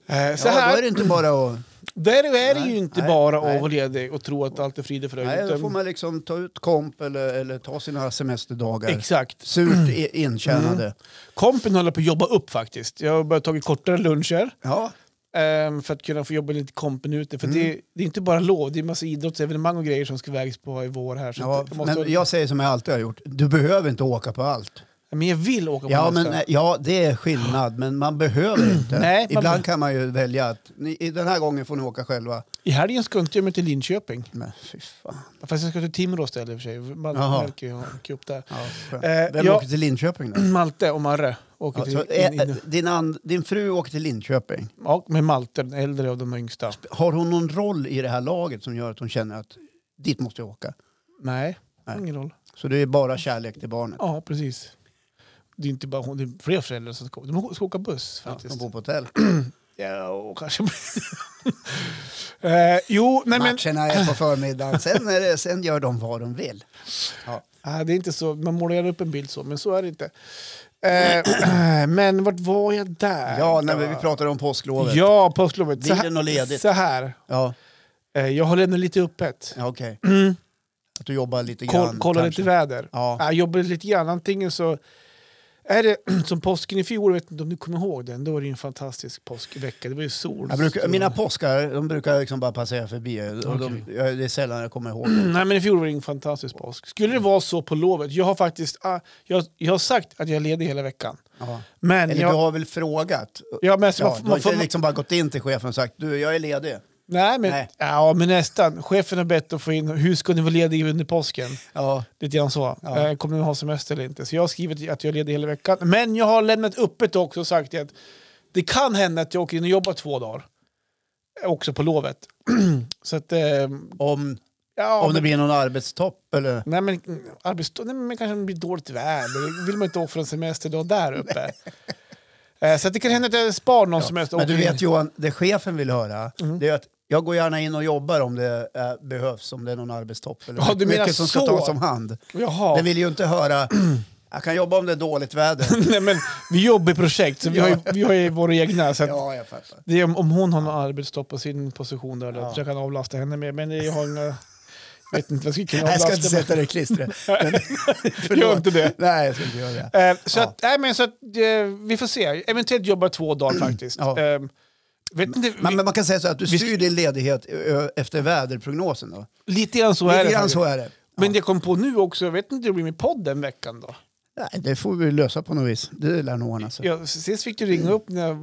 [SPEAKER 2] Eh, så
[SPEAKER 1] ja,
[SPEAKER 2] här,
[SPEAKER 1] då är det inte bara att...
[SPEAKER 2] där är det
[SPEAKER 1] Nej,
[SPEAKER 2] ju inte
[SPEAKER 1] nej,
[SPEAKER 2] bara att
[SPEAKER 1] nej.
[SPEAKER 2] vara ledig och tro att allt är frid och fröjd.
[SPEAKER 1] Nej, då
[SPEAKER 2] utan-
[SPEAKER 1] får man liksom ta ut komp eller, eller ta sina semesterdagar.
[SPEAKER 2] Exakt.
[SPEAKER 1] Surt
[SPEAKER 2] Mm.
[SPEAKER 1] i- intjänade.
[SPEAKER 2] Kompen håller på att jobba upp faktiskt. Jag har börjat ta kortare luncher.
[SPEAKER 1] Ja,
[SPEAKER 2] Ehm, för att kunna få jobba lite kompen ute.
[SPEAKER 1] Mm.
[SPEAKER 2] För det, det är inte bara lov, det är massa idrottsevenemang och grejer som ska vägas på i vår här. Så
[SPEAKER 1] ja
[SPEAKER 2] att jag måste,
[SPEAKER 1] men
[SPEAKER 2] men,
[SPEAKER 1] jag säger som jag alltid har gjort. Du behöver inte åka på allt.
[SPEAKER 2] men jag vill åka på
[SPEAKER 1] Ja,
[SPEAKER 2] nästa.
[SPEAKER 1] men, eh, ja, det är skillnad, men man behöver inte.
[SPEAKER 2] Nej, man
[SPEAKER 1] Ibland
[SPEAKER 2] be-
[SPEAKER 1] kan man ju välja att ni, i den här gången får ni åka själva.
[SPEAKER 2] I helgen ska inte jag med till Linköping.
[SPEAKER 1] Men fy fan.
[SPEAKER 2] Fast jag ska till Timrå ställe i och för sig. Man
[SPEAKER 1] Jaha.
[SPEAKER 2] märker ju hur han åker upp där.
[SPEAKER 1] Ja, skönt.
[SPEAKER 2] Eh,
[SPEAKER 1] Vem
[SPEAKER 2] jag-
[SPEAKER 1] åker till Linköping då?
[SPEAKER 2] Malte och Marre åker
[SPEAKER 1] Ja,
[SPEAKER 2] till...
[SPEAKER 1] så,
[SPEAKER 2] in,
[SPEAKER 1] eh,
[SPEAKER 2] in,
[SPEAKER 1] eh, din, and, din fru åker till Linköping.
[SPEAKER 2] ja, med Malte, den äldre av de yngsta.
[SPEAKER 1] Har hon någon roll i det här laget som gör att hon känner att dit måste jag åka?
[SPEAKER 2] Nej,
[SPEAKER 1] Nej.
[SPEAKER 2] ingen roll.
[SPEAKER 1] Så det är bara kärlek till barnet.
[SPEAKER 2] Ja, precis. Det är inte bara hon, det är fler föräldrar som ska, de ska åka buss
[SPEAKER 1] Ja,
[SPEAKER 2] faktiskt.
[SPEAKER 1] de bor på hotell.
[SPEAKER 2] Ja, och kanske... eh, jo, nej men...
[SPEAKER 1] Matcherna är på förmiddagen, sen, är det, sen gör de vad de vill. Ja.
[SPEAKER 2] Ah, det är inte så. Man målar gärna upp en bild så, men så är det inte. Eh, men vart var jag där?
[SPEAKER 1] Ja, när vi, vi pratade om påsklovet. Ja,
[SPEAKER 2] Ja, påsklovet.
[SPEAKER 1] Blir det något ledigt?
[SPEAKER 2] Så här.
[SPEAKER 1] ja,
[SPEAKER 2] Eh, jag håller ändå lite öppet.
[SPEAKER 1] okej. Att du jobbar lite
[SPEAKER 2] Mm. Koll,
[SPEAKER 1] grann.
[SPEAKER 2] kolla
[SPEAKER 1] kanske.
[SPEAKER 2] lite väder.
[SPEAKER 1] Ja.
[SPEAKER 2] Jag jobbar lite grann. Antingen så är det som påsken i fjol, jag vet inte om du kommer ihåg den. Då var det ju en fantastisk påskvecka. Det var ju sol.
[SPEAKER 1] Jag brukar, mina påskar de brukar liksom bara passera förbi. Och de,
[SPEAKER 2] Okej. Mm.
[SPEAKER 1] jag- det är sällan jag kommer ihåg.
[SPEAKER 2] Nej, men i fjol var det en fantastisk påsk. Skulle det vara så på lovet? Jag har faktiskt ah, jag, jag har sagt att jag är ledig hela veckan.
[SPEAKER 1] Ja.
[SPEAKER 2] Men
[SPEAKER 1] Eller
[SPEAKER 2] jag,
[SPEAKER 1] du har väl frågat?
[SPEAKER 2] ja, men, så
[SPEAKER 1] Ja,
[SPEAKER 2] man,
[SPEAKER 1] du har
[SPEAKER 2] man,
[SPEAKER 1] inte
[SPEAKER 2] får,
[SPEAKER 1] liksom bara gått in till chefen och sagt du, jag är ledig.
[SPEAKER 2] Nej, men,
[SPEAKER 1] Nej.
[SPEAKER 2] Ja, men nästan. Chefen har bett att få in hur ska ni vara lediga under påsken.
[SPEAKER 1] Ja,
[SPEAKER 2] Lite grann så.
[SPEAKER 1] Ja.
[SPEAKER 2] Eh, kommer ni ha semester eller inte? Så jag har skrivit att jag är ledig hela veckan. Men jag har lämnat öppet också och sagt att det kan hända att jag åker in och jobbar två dagar. Eh, Också på lovet. så att... Eh,
[SPEAKER 1] om,
[SPEAKER 2] ja,
[SPEAKER 1] om det
[SPEAKER 2] men,
[SPEAKER 1] blir någon arbetstopp eller?
[SPEAKER 2] Nej men, mm, arbets- nej men kanske det blir dåligt väder. Då vill man inte offra en semester då där uppe. Eh, Så att det kan hända att jag spar någon semester.
[SPEAKER 1] Men du
[SPEAKER 2] åker in.
[SPEAKER 1] vet Johan, det chefen vill höra
[SPEAKER 2] Mm.
[SPEAKER 1] det är att jag går gärna in och jobbar om det eh, behövs, om det är någon arbetstopp eller
[SPEAKER 2] Ja, du menar
[SPEAKER 1] mycket som ska
[SPEAKER 2] så.
[SPEAKER 1] tas om hand.
[SPEAKER 2] Jaha.
[SPEAKER 1] Den vill ju inte höra, jag kan jobba om det är dåligt väder.
[SPEAKER 2] Nej, men vi jobbar i projekt, så vi har ju, vi har ju våra egna. Så att
[SPEAKER 1] ja, jag fattar.
[SPEAKER 2] det är om, om hon har någon arbetstopp på sin position där, ja.
[SPEAKER 1] Ja.
[SPEAKER 2] så jag kan avlasta henne med. Men jag har inga... Jag vet inte vad jag skulle kunna
[SPEAKER 1] Nej, jag
[SPEAKER 2] avlasta.
[SPEAKER 1] ska inte sätta dig i klistret. Men-
[SPEAKER 2] men Gör inte det.
[SPEAKER 1] Nej, jag ska inte göra det.
[SPEAKER 2] Eh, så
[SPEAKER 1] Ja.
[SPEAKER 2] att, nej, men så att, eh, vi får se. Eventuellt jobbar två dagar faktiskt.
[SPEAKER 1] Ja.
[SPEAKER 2] Eh, vet inte, vi,
[SPEAKER 1] Men, men man kan säga så att du
[SPEAKER 2] vi-
[SPEAKER 1] styr din ledighet ö, efter väderprognosen då?
[SPEAKER 2] lite grann så är
[SPEAKER 1] Lite
[SPEAKER 2] det.
[SPEAKER 1] grann
[SPEAKER 2] faktiskt.
[SPEAKER 1] så är det.
[SPEAKER 2] Men det jag kom på nu också, jag vet inte hur det blir med podden veckan då.
[SPEAKER 1] Nej, det får vi lösa på något vis. Det lär nog ordna sig.
[SPEAKER 2] Jag, sist fick du ringa upp när jag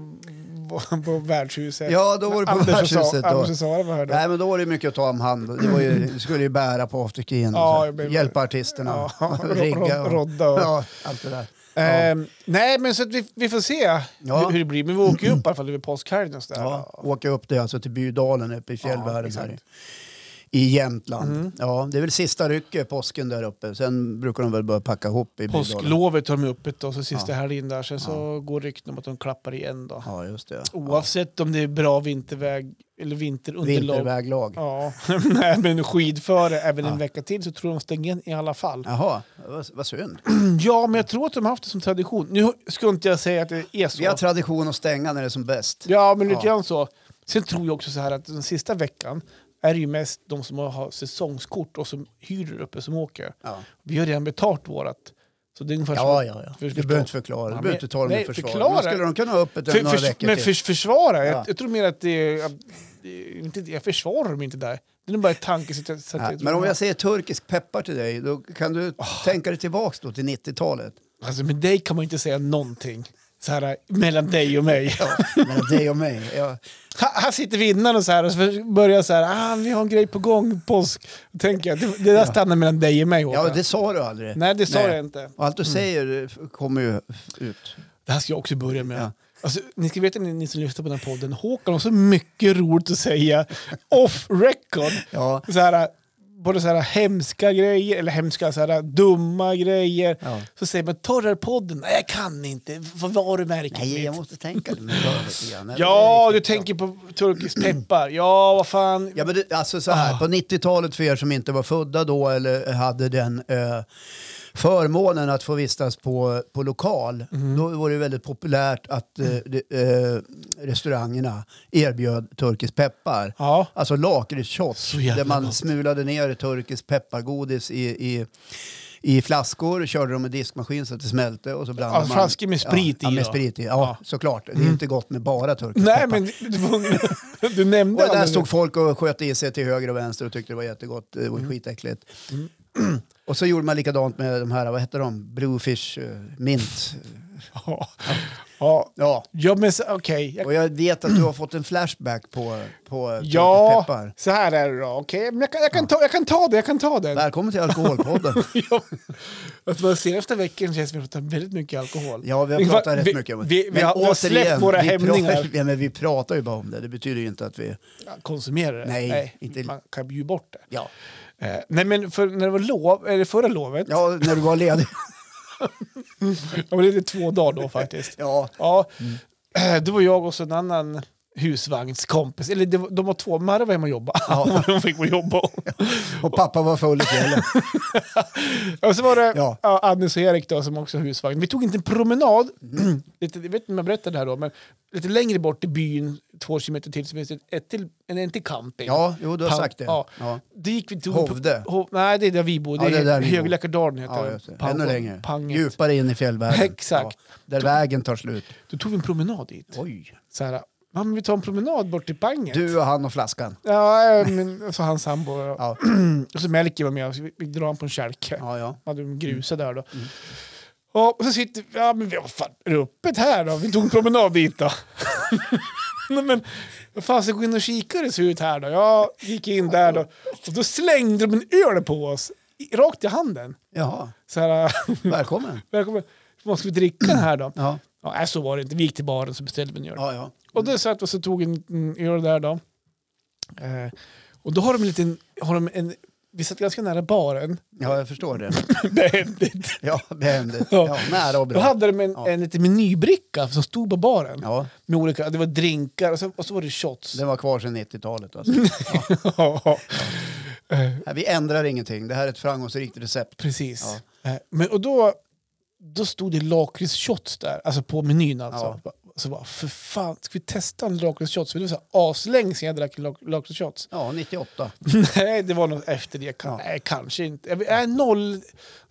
[SPEAKER 2] var på värdshuset.
[SPEAKER 1] Ja, då var du på
[SPEAKER 2] Anders och
[SPEAKER 1] värdshuset
[SPEAKER 2] Sa-
[SPEAKER 1] då.
[SPEAKER 2] Anders och Sara var här då.
[SPEAKER 1] Nej, men då var det mycket att ta om hand. Det var ju, du skulle ju bära på afterkin.
[SPEAKER 2] Ja,
[SPEAKER 1] Ja,
[SPEAKER 2] jag blev-
[SPEAKER 1] Hjälpa artisterna.
[SPEAKER 2] Ja, ro-
[SPEAKER 1] rigga och,
[SPEAKER 2] rodda och-
[SPEAKER 1] Ja, allt det där. Ja.
[SPEAKER 2] Ehm, nej, men så att vi, vi får se
[SPEAKER 1] Ja.
[SPEAKER 2] hur, hur det blir. Men vi åker ju upp i alla fall över påskhelgen och sådär.
[SPEAKER 1] Ja, åka upp det alltså till Bydalen uppe i fjällvärlden
[SPEAKER 2] exakt. Mm.
[SPEAKER 1] här i, i Jämtland. Ja, det är väl sista rycket påsken där uppe. Sen brukar de väl börja packa ihop i Bydalen.
[SPEAKER 2] Påsklovet har de öppet då, så sista helgen där. Sen så går rykten om att de klappar igen då.
[SPEAKER 1] Ja, just det.
[SPEAKER 2] Oavsett om det är bra vinterväg eller vinterunderlag.
[SPEAKER 1] Vinterväglag.
[SPEAKER 2] Ja, nej, men skidföre även en vecka till så tror jag de stänger igen i alla fall.
[SPEAKER 1] Jaha, vad, vad synd.
[SPEAKER 2] Ja, men jag tror att de har haft det som tradition. Nu ska inte jag säga att det är så.
[SPEAKER 1] Vi har tradition att stänga när det är som bäst.
[SPEAKER 2] Ja, men lite
[SPEAKER 1] Ja.
[SPEAKER 2] grann så. Sen tror jag också så här att den sista veckan är det ju mest de som har säsongskort och som hyr där uppe som åker.
[SPEAKER 1] Ja,
[SPEAKER 2] Vi har redan betalt vårt. Så det är ungefär
[SPEAKER 1] ja,
[SPEAKER 2] som-
[SPEAKER 1] ja. ja.
[SPEAKER 2] För-
[SPEAKER 1] Du
[SPEAKER 2] förstå-
[SPEAKER 1] behöver inte förklara. Du
[SPEAKER 2] Ja,
[SPEAKER 1] behöver
[SPEAKER 2] men-
[SPEAKER 1] inte ta dem i
[SPEAKER 2] nej,
[SPEAKER 1] försvar.
[SPEAKER 2] förklara.
[SPEAKER 1] Men skulle de kunna ha öppet
[SPEAKER 2] För,
[SPEAKER 1] några
[SPEAKER 2] för,
[SPEAKER 1] veckor
[SPEAKER 2] men
[SPEAKER 1] till?
[SPEAKER 2] förs, försvara,
[SPEAKER 1] Ja.
[SPEAKER 2] jag, jag tror mer att det är... att- det är Inte, jag försvarar dem inte där. Det är nog bara ett tankesätt.
[SPEAKER 1] Ja, men om jag säger turkisk peppar till dig, då kan du
[SPEAKER 2] Ah.
[SPEAKER 1] tänka dig tillbaks då till 90-talet.
[SPEAKER 2] Alltså med dig kan man ju inte säga någonting. Så här, mellan dig och mig.
[SPEAKER 1] Mellan dig och mig. Ja.
[SPEAKER 2] Ha- Här sitter vi innan och så här, och så börjar jag så här, ah, vi har en grej på gång, påsk. Då tänker jag, det, det där stannar mellan dig och mig Håkan.
[SPEAKER 1] ja, det sa du aldrig.
[SPEAKER 2] Nej, det sa jag inte. Mm.
[SPEAKER 1] Och allt du säger eh, kommer ju ut.
[SPEAKER 2] Det här ska jag också börja med.
[SPEAKER 1] Ja.
[SPEAKER 2] Alltså, ni ska veta, ni, ni som lyssnar på den här podden, Håkan har så mycket roligt att säga off record.
[SPEAKER 1] Ja.
[SPEAKER 2] Så här, både så här hemska grejer, eller hemska, så här, dumma grejer.
[SPEAKER 1] Ja.
[SPEAKER 2] Så säger man, ta den här podden, nej jag kan inte, vad varumärket
[SPEAKER 1] Nej,
[SPEAKER 2] mitt.
[SPEAKER 1] jag måste tänka lite mer lite grann.
[SPEAKER 2] Ja, du tänker på turkisk peppar. Ja, vad fan.
[SPEAKER 1] Ja, men det, alltså så
[SPEAKER 2] Ah.
[SPEAKER 1] här, På 90-talet för er som inte var födda då eller hade den eh, förmånen att få vistas på, på lokal,
[SPEAKER 2] Mm.
[SPEAKER 1] då var det väldigt populärt att eh, de, eh, restaurangerna erbjöd turkisk peppar.
[SPEAKER 2] Ja.
[SPEAKER 1] Alltså lakritsshots
[SPEAKER 2] Så jävla
[SPEAKER 1] där man
[SPEAKER 2] gott.
[SPEAKER 1] smulade ner turkisk peppargodis i, i, i flaskor, körde dem i diskmaskin så att det smälte och så blandade
[SPEAKER 2] Ja,
[SPEAKER 1] man...
[SPEAKER 2] flaskor med sprit
[SPEAKER 1] ja, Ja,
[SPEAKER 2] i
[SPEAKER 1] med
[SPEAKER 2] då. Mm.
[SPEAKER 1] sprit i. Ja, såklart. Det är inte gott med bara turkisk
[SPEAKER 2] Nej,
[SPEAKER 1] peppar.
[SPEAKER 2] men du, du- du nämnde
[SPEAKER 1] Och där
[SPEAKER 2] aldrig-
[SPEAKER 1] stod folk och sköt i sig till höger och vänster och tyckte det var jättegott. Det var
[SPEAKER 2] Mm.
[SPEAKER 1] skitäckligt. Och så gjorde man likadant med de här, vad hette de? Bluefish, eh, mint.
[SPEAKER 2] Ja. Ja.
[SPEAKER 1] Ja.
[SPEAKER 2] ja, men så- okej. Jag-
[SPEAKER 1] Och jag vet att du har fått en flashback på, på eh,
[SPEAKER 2] Ja,
[SPEAKER 1] Turkisk peppar.
[SPEAKER 2] så här är det då. Okej, men jag kan, jag, kan ta, jag kan ta det, jag kan ta den.
[SPEAKER 1] Välkommen till Alkoholpodden.
[SPEAKER 2] Ja. Alltså, de senaste veckan känns det som att vi har pratat väldigt mycket alkohol.
[SPEAKER 1] Ja, vi har pratat rätt
[SPEAKER 2] vi,
[SPEAKER 1] mycket om det.
[SPEAKER 2] Vi, vi,
[SPEAKER 1] Men
[SPEAKER 2] har, vi har släppt våra
[SPEAKER 1] vi
[SPEAKER 2] hämningar.
[SPEAKER 1] Pratar, ja, men vi pratar ju bara om det. Det betyder ju inte att vi...
[SPEAKER 2] Konsumerar det?
[SPEAKER 1] Nej, inte-
[SPEAKER 2] Man kan ju bort det.
[SPEAKER 1] Ja,
[SPEAKER 2] Eh, nej, men för, när det var lov, eller förra lovet, ja.
[SPEAKER 1] ja när du var ledig.
[SPEAKER 2] det var lite två dagar då faktiskt.
[SPEAKER 1] Ja,
[SPEAKER 2] Ja, eh, det var jag och så en annan husvagnskompis. Eller det var, de var två. Marre var hemma och jobbade.
[SPEAKER 1] Ja.
[SPEAKER 2] de fick gå och jobba.
[SPEAKER 1] och pappa var full i fjällen.
[SPEAKER 2] Och så var det ja.
[SPEAKER 1] Ja.
[SPEAKER 2] Agnes och Erik då, som också har husvagn. Vi tog inte en promenad,
[SPEAKER 1] Mm.
[SPEAKER 2] lite, jag vet inte om jag berättade det här då, men lite längre bort i byn, två kilometer till, så finns det ett till, en, en till camping.
[SPEAKER 1] Ja, jo, du har
[SPEAKER 2] Pam-
[SPEAKER 1] sagt det.
[SPEAKER 2] Ja.
[SPEAKER 1] Ja.
[SPEAKER 2] Det gick vi till
[SPEAKER 1] Hovde.
[SPEAKER 2] Hov, nej, det är där vi bor. Det
[SPEAKER 1] Ja, det är
[SPEAKER 2] är,
[SPEAKER 1] där vi bor.
[SPEAKER 2] Högläckardalen heter
[SPEAKER 1] Ja,
[SPEAKER 2] den.
[SPEAKER 1] just det.
[SPEAKER 2] Pang-
[SPEAKER 1] Ännu längre.
[SPEAKER 2] Panget.
[SPEAKER 1] Djupare in i fjällvärlden.
[SPEAKER 2] Exakt.
[SPEAKER 1] Ja, där vägen tar slut.
[SPEAKER 2] Då tog vi en promenad dit.
[SPEAKER 1] Oj.
[SPEAKER 2] Så här, ja, men vi tar en promenad bort till Panget.
[SPEAKER 1] Du och han och flaskan.
[SPEAKER 2] Ja, men, så hans sambo. Ja.
[SPEAKER 1] Ja,
[SPEAKER 2] Och så Melker var med, så vi, vi drar honom på en kälke.
[SPEAKER 1] ja. Mm. ja.
[SPEAKER 2] Man hade en grusa där då. Ja, Och så sitter vi, ja men vi- vad fan, är det öppet här då? Vi tog en promenad dit då. Nej men, vad fan ska jag gå in och kika hur det ser ut här då? Jag gick in där då. Och då slängde de en öl på oss, i- rakt i handen.
[SPEAKER 1] Jaha,
[SPEAKER 2] Så här,
[SPEAKER 1] välkommen.
[SPEAKER 2] välkommen, vad ska vi dricka den här då?
[SPEAKER 1] Ja,
[SPEAKER 2] Ja, nej, så var det inte, vi gick till baren så beställde vi en öl.
[SPEAKER 1] ja, ja.
[SPEAKER 2] Och då satt vi och så tog en, en öl där då. Eh, och då har de en liten, har de en, vi satt ganska nära baren.
[SPEAKER 1] ja jag förstår det.
[SPEAKER 2] Behändigt.
[SPEAKER 1] Ja, behändigt.
[SPEAKER 2] Ja.
[SPEAKER 1] Ja, nära och
[SPEAKER 2] Då
[SPEAKER 1] bra.
[SPEAKER 2] hade de en,
[SPEAKER 1] Ja.
[SPEAKER 2] en liten menybricka som stod på baren.
[SPEAKER 1] Ja,
[SPEAKER 2] Med olika, det var drinkar och så, och så var det shots.
[SPEAKER 1] den var kvar sedan 90-talet. Alltså.
[SPEAKER 2] Ja, Eh,
[SPEAKER 1] Nej, Vi ändrar ingenting. Det här är ett framgångsrikt recept.
[SPEAKER 2] Precis. Eh, Men, och då, då stod det lakritsshots där, alltså på menyn alltså. Så bara, för fan, ska vi testa en lakritsshots? För det var så här aslänge sedan jag drack lak- lakritsshots.
[SPEAKER 1] Ja, 98.
[SPEAKER 2] Nej, det var nog efter det. Kan,
[SPEAKER 1] Ja.
[SPEAKER 2] Nej, kanske inte. Jag vet- Nej,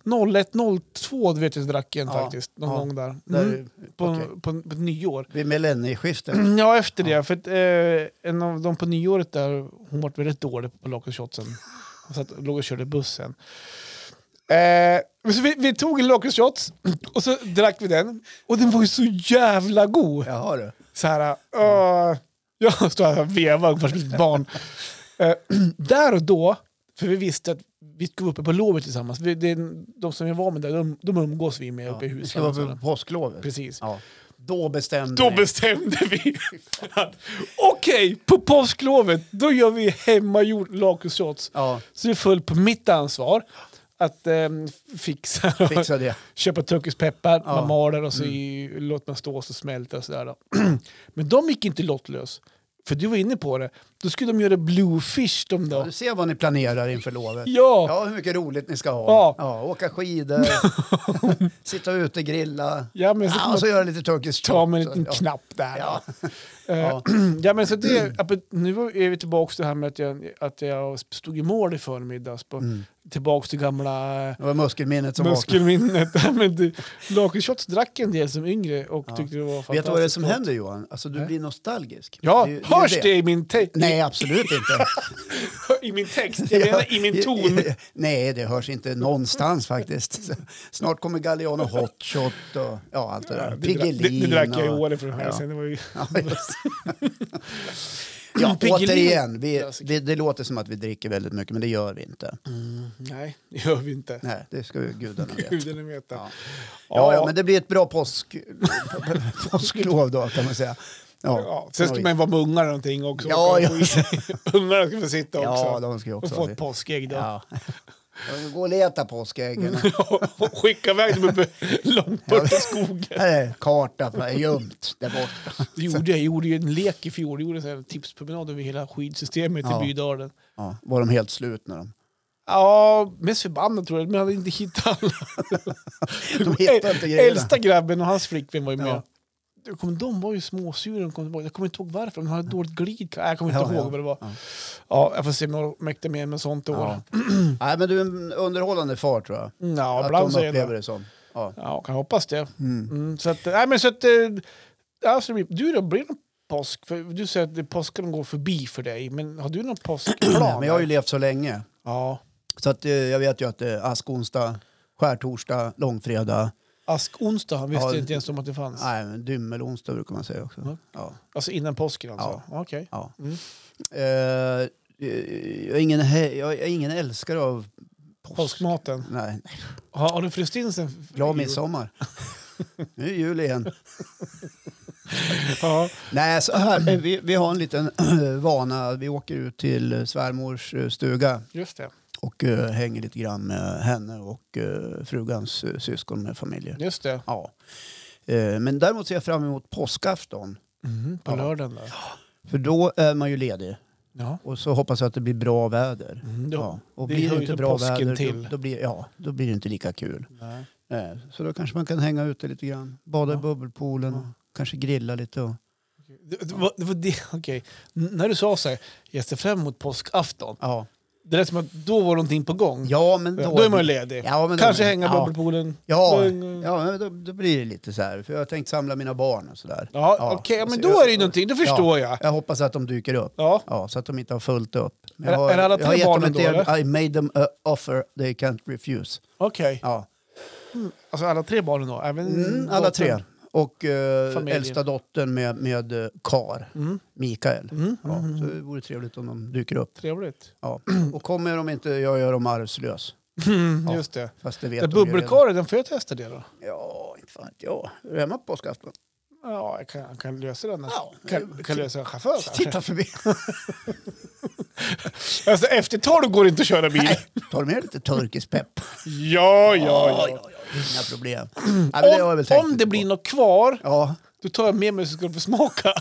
[SPEAKER 2] 0, 01, 02 vet jag att jag drack en
[SPEAKER 1] Ja.
[SPEAKER 2] faktiskt. Någon
[SPEAKER 1] Ja.
[SPEAKER 2] gång där. Mm.
[SPEAKER 1] Där,
[SPEAKER 2] På, Mm.
[SPEAKER 1] okej.
[SPEAKER 2] på, på, på nyår.
[SPEAKER 1] Vid millennieskiftet.
[SPEAKER 2] Ja, efter det. För att, eh, en av dem på nyåret där, hon var väldigt dålig på lakritshotsen. Hon satt, låg och körde bussen. Eh, men så vi, vi tog en lakritsshot och så drack vi den. Och den var ju så jävla god.
[SPEAKER 1] Jaha du.
[SPEAKER 2] Så här, eh, jag stod här och vevade ungefär som ett barn. Eh, där och då, för vi visste att vi skulle vara uppe på lovet tillsammans. Vi, det, är- de som jag var med där, de, de umgås vi med
[SPEAKER 1] Ja.
[SPEAKER 2] uppe i
[SPEAKER 1] Vi ska vara
[SPEAKER 2] huset.
[SPEAKER 1] på påsklovet.
[SPEAKER 2] Precis.
[SPEAKER 1] Ja. Då bestämde
[SPEAKER 2] Då
[SPEAKER 1] ni.
[SPEAKER 2] bestämde vi att okej, på påsklovet då gör vi hemmagjord lakritsshots.
[SPEAKER 1] Ja,
[SPEAKER 2] Så det föll på mitt ansvar att ehm, fixa,
[SPEAKER 1] fixa det.
[SPEAKER 2] köpa turkisk peppar,
[SPEAKER 1] Ja. Mm.
[SPEAKER 2] man maler och så i, låter man stå och så smälter och sådär. Då. Men de gick inte lottlös, för du var inne på det. Då skulle de göra bluefish de då.
[SPEAKER 1] Du ser vad ni planerar inför lovet.
[SPEAKER 2] Ja,
[SPEAKER 1] Ja, hur mycket roligt ni ska ha.
[SPEAKER 2] Ja.
[SPEAKER 1] åka skidor, sitta ute, grilla.
[SPEAKER 2] ja men så
[SPEAKER 1] Ja,
[SPEAKER 2] kommer
[SPEAKER 1] och så göra lite turkisk
[SPEAKER 2] ta med en
[SPEAKER 1] shot.
[SPEAKER 2] liten
[SPEAKER 1] Ja.
[SPEAKER 2] knapp där.
[SPEAKER 1] Ja.
[SPEAKER 2] Eh, Ja. men så det, apropå- nu är vi tillbaka till det här med att jag, att jag stod i mål i förmiddags. På, Tillbaka till gamla eh,
[SPEAKER 1] Det var muskelminnet Mm. som vaknade.
[SPEAKER 2] muskelminnet. Ja, men du, Lakritsshots drack en del som yngre och tyckte det var fantastiskt.
[SPEAKER 1] Vet du vad det är som
[SPEAKER 2] gott.
[SPEAKER 1] händer Johan? Alltså du blir nostalgisk.
[SPEAKER 2] Ja,
[SPEAKER 1] är ju- är
[SPEAKER 2] hörs
[SPEAKER 1] ju
[SPEAKER 2] det i min te-
[SPEAKER 1] Nej, absolut inte.
[SPEAKER 2] i I min text, jag menar i min ton.
[SPEAKER 1] Nej, det hörs inte någonstans faktiskt. Så, Snart kommer Galliano Hot Shot och ja, allt det där.
[SPEAKER 2] Ja, det, drack,
[SPEAKER 1] Piggelin
[SPEAKER 2] det, det drack jag i
[SPEAKER 1] och-
[SPEAKER 2] Åre för att höra
[SPEAKER 1] ja.
[SPEAKER 2] sen. Det var ju...
[SPEAKER 1] Ja, precis. ja,
[SPEAKER 2] Piggelin.
[SPEAKER 1] återigen, vi, vi, det låter som att vi dricker väldigt mycket, men det gör vi inte.
[SPEAKER 2] Nej, det gör vi inte.
[SPEAKER 1] Mm. Nej, det ska ju gudarna veta.
[SPEAKER 2] Gudarna veta.
[SPEAKER 1] Ja. Ja, ja, men det blir ett bra påsk, påsklov då kan man säga. Ja,
[SPEAKER 2] Ja, sen ska man vara med ungar och någonting också.
[SPEAKER 1] Ja, ja.
[SPEAKER 2] Ungarna ska få sitta också.
[SPEAKER 1] ja de ska ju
[SPEAKER 2] och
[SPEAKER 1] också
[SPEAKER 2] få
[SPEAKER 1] ha
[SPEAKER 2] ett
[SPEAKER 1] det.
[SPEAKER 2] påskägg då.
[SPEAKER 1] Ja. Ja, Gå och leta påskäggen.
[SPEAKER 2] och skicka iväg dem uppe långt bort i skogen.
[SPEAKER 1] Här är kartan, det är gömt där borta.
[SPEAKER 2] Det gjorde jag. jag gjorde ju en lek i fjol. Jag gjorde en sån här tipspromenad över hela skidsystemet
[SPEAKER 1] Ja.
[SPEAKER 2] i Bydalen.
[SPEAKER 1] Ja, var de helt slut när de...
[SPEAKER 2] Ja, mest förbannad tror jag, men jag hade inte hittat alla.
[SPEAKER 1] De hittade inte grejerna.
[SPEAKER 2] Äldsta grabben och hans flickvän var ju med.
[SPEAKER 1] Ja.
[SPEAKER 2] Jag kommer- De var ju småsura, de kom tillbaka. jag kommer inte ihåg varför. De hade dåligt glid. Nej, Jag kommer
[SPEAKER 1] Ja,
[SPEAKER 2] inte ihåg
[SPEAKER 1] ja.
[SPEAKER 2] vad det var.
[SPEAKER 1] Ja.
[SPEAKER 2] Ja. jag får se om jag mäktar med med sånt i år.
[SPEAKER 1] Ja. Nej, men du är en underhållande far tror jag.
[SPEAKER 2] Mm, Ja,
[SPEAKER 1] att
[SPEAKER 2] ibland
[SPEAKER 1] de
[SPEAKER 2] så är
[SPEAKER 1] upplever
[SPEAKER 2] det.
[SPEAKER 1] det som. Ja.
[SPEAKER 2] Ja, kan jag hoppas det.
[SPEAKER 1] Mm.
[SPEAKER 2] Mm, så att, nej men så att, eh, ja, så det blir, du då, blir det någon påsk? För du säger att det- påsken går förbi för dig, men har du någon påskplan?
[SPEAKER 1] Men jag har ju levt så länge.
[SPEAKER 2] Ja,
[SPEAKER 1] Så att, eh, jag vet ju att det är askonsdag, skärtorsdag, långfredag.
[SPEAKER 2] askonsdag visste
[SPEAKER 1] Ja,
[SPEAKER 2] jag inte ens om att det fanns.
[SPEAKER 1] Nej, men dymmelonsdag brukar man säga också.
[SPEAKER 2] Ja.
[SPEAKER 1] Ja.
[SPEAKER 2] Alltså innan påsken alltså? Okej.
[SPEAKER 1] Ja.
[SPEAKER 2] Mm.
[SPEAKER 1] Eh, jag, är ingen, he- jag är ingen älskare av påsk.
[SPEAKER 2] Påskmaten.
[SPEAKER 1] Nej,
[SPEAKER 2] Har, har du fryst in sen? f-
[SPEAKER 1] glad
[SPEAKER 2] i-
[SPEAKER 1] midsommar. nu är jul igen.
[SPEAKER 2] Ja.
[SPEAKER 1] Nej, så här, eh, vi, vi har en liten vana. Vi åker ut till eh, svärmors eh, stuga
[SPEAKER 2] Just det.
[SPEAKER 1] och eh, hänger lite grann med henne och eh, frugans eh, syskon med familjer.
[SPEAKER 2] Just det.
[SPEAKER 1] Ja. Eh, men däremot ser jag fram emot påskafton.
[SPEAKER 2] Mhm, på
[SPEAKER 1] Ja.
[SPEAKER 2] lördagen där.
[SPEAKER 1] För då är man ju ledig.
[SPEAKER 2] Ja.
[SPEAKER 1] Och så hoppas jag att det blir bra väder.
[SPEAKER 2] Mm, då,
[SPEAKER 1] Ja. Och
[SPEAKER 2] det
[SPEAKER 1] blir det
[SPEAKER 2] hör ju
[SPEAKER 1] inte
[SPEAKER 2] till
[SPEAKER 1] bra
[SPEAKER 2] påsken
[SPEAKER 1] väder
[SPEAKER 2] till.
[SPEAKER 1] Då, då, blir, ja, då blir det inte lika kul.
[SPEAKER 2] Nej.
[SPEAKER 1] Eh, Så då kanske man kan hänga ute lite grann. Bada i
[SPEAKER 2] Ja.
[SPEAKER 1] bubbelpoolen.
[SPEAKER 2] Ja.
[SPEAKER 1] Kanske grilla lite. Och,
[SPEAKER 2] Det, det, var, det var det, okej. N- När du sa så här, jag ser fram emot påskafton.
[SPEAKER 1] ja.
[SPEAKER 2] Det lät som att då var någonting på gång.
[SPEAKER 1] ja, men då...
[SPEAKER 2] Då, är man ju ledig.
[SPEAKER 1] Ja, men då-
[SPEAKER 2] Kanske hänga Mm.
[SPEAKER 1] ja.
[SPEAKER 2] bubbelpoolen.
[SPEAKER 1] Ja,
[SPEAKER 2] Men-
[SPEAKER 1] ja men då, då blir det lite så här. För jag har tänkt samla mina barn och sådär.
[SPEAKER 2] Ja,
[SPEAKER 1] Ja, Alltså,
[SPEAKER 2] okej, ja,
[SPEAKER 1] och
[SPEAKER 2] men
[SPEAKER 1] så-
[SPEAKER 2] då är det ju någonting, då förstår jag.
[SPEAKER 1] Jag hoppas att de dyker upp.
[SPEAKER 2] Ja.
[SPEAKER 1] Ja, så att de inte har fullt upp. Men
[SPEAKER 2] Är-
[SPEAKER 1] jag har,
[SPEAKER 2] är alla
[SPEAKER 1] jag har
[SPEAKER 2] tre
[SPEAKER 1] gett dem
[SPEAKER 2] barnen
[SPEAKER 1] ett
[SPEAKER 2] då,
[SPEAKER 1] erbj- I made them a offer they can't refuse.
[SPEAKER 2] Okej,
[SPEAKER 1] Ja.
[SPEAKER 2] alltså alla tre barnen då? Även
[SPEAKER 1] Mm, alla tre. Och eh,
[SPEAKER 2] Familjen.
[SPEAKER 1] äldsta dottern med, med eh, kar,
[SPEAKER 2] Mm.
[SPEAKER 1] Mikael.
[SPEAKER 2] Mm. Mm.
[SPEAKER 1] Ja, så det vore trevligt om de dyker upp.
[SPEAKER 2] Trevligt.
[SPEAKER 1] Ja. Och kommer de inte, jag gör dem arvslös. Ja.
[SPEAKER 2] Just det.
[SPEAKER 1] Fast det vet
[SPEAKER 2] det
[SPEAKER 1] de ju redan.
[SPEAKER 2] bubbelkaret, den får jag testa det då?
[SPEAKER 1] Ja, inte fan vet jag. Är du hemma på påskafton?
[SPEAKER 2] Ja, jag kan, kan lösa den.
[SPEAKER 1] Ja.
[SPEAKER 2] Kan, kan lösa en chaufför kanske?
[SPEAKER 1] Titta förbi.
[SPEAKER 2] Alltså efter tolv går det inte att köra bil.
[SPEAKER 1] Tar du med lite turkisk pepp?
[SPEAKER 2] Ja, ja, ja.
[SPEAKER 1] Inga problem. Nej, men det har jag väl tänkt
[SPEAKER 2] om om
[SPEAKER 1] lite
[SPEAKER 2] det
[SPEAKER 1] på.
[SPEAKER 2] blir något kvar,
[SPEAKER 1] Ja,
[SPEAKER 2] då tar jag med mig så ska du få smaka.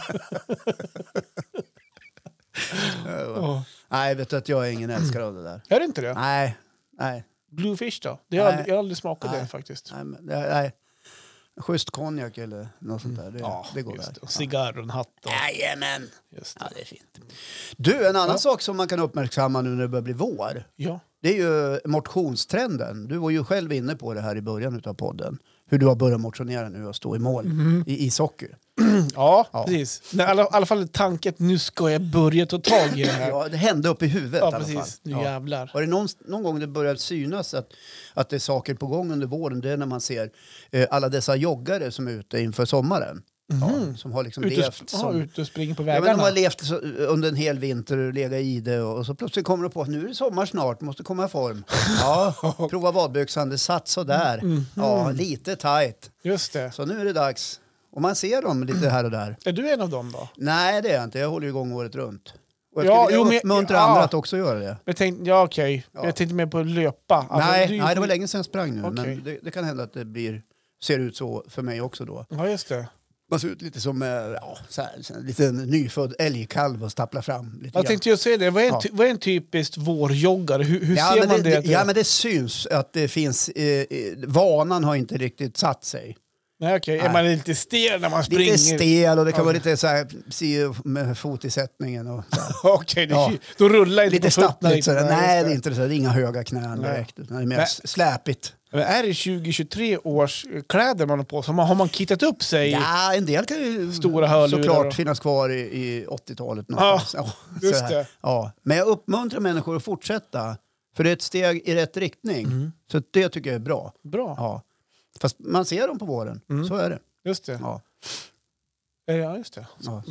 [SPEAKER 2] Ja.
[SPEAKER 1] nej vet du att jag är ingen
[SPEAKER 2] Mm.
[SPEAKER 1] älskare av det där.
[SPEAKER 2] Är det inte det?
[SPEAKER 1] Nej, nej,
[SPEAKER 2] Bluefish då? Det
[SPEAKER 1] Nej.
[SPEAKER 2] har jag, aldrig, jag har aldrig smakat
[SPEAKER 1] Nej.
[SPEAKER 2] det faktiskt.
[SPEAKER 1] nej. men det- nej. Schysst konjak eller något sånt där, det, det går
[SPEAKER 2] Mm. just
[SPEAKER 1] väl.
[SPEAKER 2] det. Och Cigarr och en hatt. Och,
[SPEAKER 1] Jajamän!
[SPEAKER 2] just det.
[SPEAKER 1] Ja, det är fint. Du, en annan
[SPEAKER 2] Ja.
[SPEAKER 1] sak som man kan uppmärksamma nu när det börjar bli vår,
[SPEAKER 2] Ja.
[SPEAKER 1] det är ju motionstrenden. Du var ju själv inne på det här i början av podden, hur du har börjat motionera nu och stå i mål
[SPEAKER 2] Mhm.
[SPEAKER 1] i ishockey.
[SPEAKER 2] Mm, Ja,
[SPEAKER 1] Ja.
[SPEAKER 2] precis. Nej, I alla, i alla fall tanken att nu ska jag börja ta tag i det här.
[SPEAKER 1] Ja, det hände upp i huvudet
[SPEAKER 2] ja,
[SPEAKER 1] i alla fall.
[SPEAKER 2] precis. Nu
[SPEAKER 1] Ja.
[SPEAKER 2] jävlar.
[SPEAKER 1] Har det någon, någon gång det börjat synas att, att det är saker på gång under våren? Det är när man ser eh, alla dessa joggare som är ute inför sommaren. Ja, som har liksom
[SPEAKER 2] Mhm. Ute och,
[SPEAKER 1] levt
[SPEAKER 2] ja,
[SPEAKER 1] som...
[SPEAKER 2] ute och springa på
[SPEAKER 1] Ja, men de
[SPEAKER 2] vägarna.
[SPEAKER 1] har levt så, eh, under en hel vinter och legat i det och, och så plötsligt kommer de på att nu är det sommar snart, måste komma i form. Ja, prova badbyxan, det satt sådär.
[SPEAKER 2] Mm,
[SPEAKER 1] Ja, lite tajt.
[SPEAKER 2] Just det.
[SPEAKER 1] Så nu är det dags. Och man ser dem lite här och där.
[SPEAKER 2] Är du en av dem då?
[SPEAKER 1] Nej, det är jag inte. Jag håller ju igång året runt. Och jag
[SPEAKER 2] Ja,
[SPEAKER 1] skulle
[SPEAKER 2] jo,
[SPEAKER 1] vilja
[SPEAKER 2] men-
[SPEAKER 1] uppmuntra
[SPEAKER 2] ja.
[SPEAKER 1] andra att också göra det.
[SPEAKER 2] Jag tänkte, ja okej.
[SPEAKER 1] Ja.
[SPEAKER 2] Jag tänkte mer på löpa. Alltså,
[SPEAKER 1] nej,
[SPEAKER 2] du är ju-
[SPEAKER 1] nej, det var länge sedan jag sprang nu.
[SPEAKER 2] Okej.
[SPEAKER 1] Men det, det kan hända att det blir, ser ut så för mig också då.
[SPEAKER 2] Ja, just det.
[SPEAKER 1] Man ser ut lite som eh, ja, så här, så här, en liten nyfödd älgkalv och stapplar fram. Lite
[SPEAKER 2] Jag
[SPEAKER 1] grann.
[SPEAKER 2] tänkte ju säga det. Vad är en,
[SPEAKER 1] Ja.
[SPEAKER 2] ty- vad är en typiskt vårjoggare? Hur, hur
[SPEAKER 1] ja,
[SPEAKER 2] ser
[SPEAKER 1] men
[SPEAKER 2] man det?
[SPEAKER 1] det,
[SPEAKER 2] att
[SPEAKER 1] ja, men det syns att det finns... Eh, eh, vanan har inte riktigt satt sig.
[SPEAKER 2] Nej, okej.
[SPEAKER 1] Nej.
[SPEAKER 2] Är man lite stel när man springer?
[SPEAKER 1] Lite stel och det kan
[SPEAKER 2] Ja.
[SPEAKER 1] vara lite så här, si med fot i sättningen. Och, så här.
[SPEAKER 2] Okej, det-
[SPEAKER 1] Ja.
[SPEAKER 2] då rullar inte
[SPEAKER 1] lite
[SPEAKER 2] på fötterna.
[SPEAKER 1] stappligt.
[SPEAKER 2] riktigt.
[SPEAKER 1] sådär.
[SPEAKER 2] just
[SPEAKER 1] Nej, det är inte så. här, Det är inga höga knän
[SPEAKER 2] Nej.
[SPEAKER 1] direkt. Utan det är mer
[SPEAKER 2] Nej.
[SPEAKER 1] släpigt.
[SPEAKER 2] Men är det 2023 års eh, kläder man har på sig? Har man- Har man kittat upp sig?
[SPEAKER 1] Ja, en del kan ju
[SPEAKER 2] Stora hörlurar
[SPEAKER 1] såklart
[SPEAKER 2] och-
[SPEAKER 1] finnas kvar i, i 80-talet. någonstans. Ja, så
[SPEAKER 2] just
[SPEAKER 1] här.
[SPEAKER 2] det.
[SPEAKER 1] Ja. Men jag uppmuntrar människor att fortsätta, för det är ett steg i rätt riktning.
[SPEAKER 2] Mm.
[SPEAKER 1] Så det tycker jag är bra.
[SPEAKER 2] Bra,
[SPEAKER 1] Ja. Fast man ser dem på våren,
[SPEAKER 2] Mm.
[SPEAKER 1] så är det.
[SPEAKER 2] just det.
[SPEAKER 1] Ja,
[SPEAKER 2] Eh, Ja, just det.
[SPEAKER 1] ja.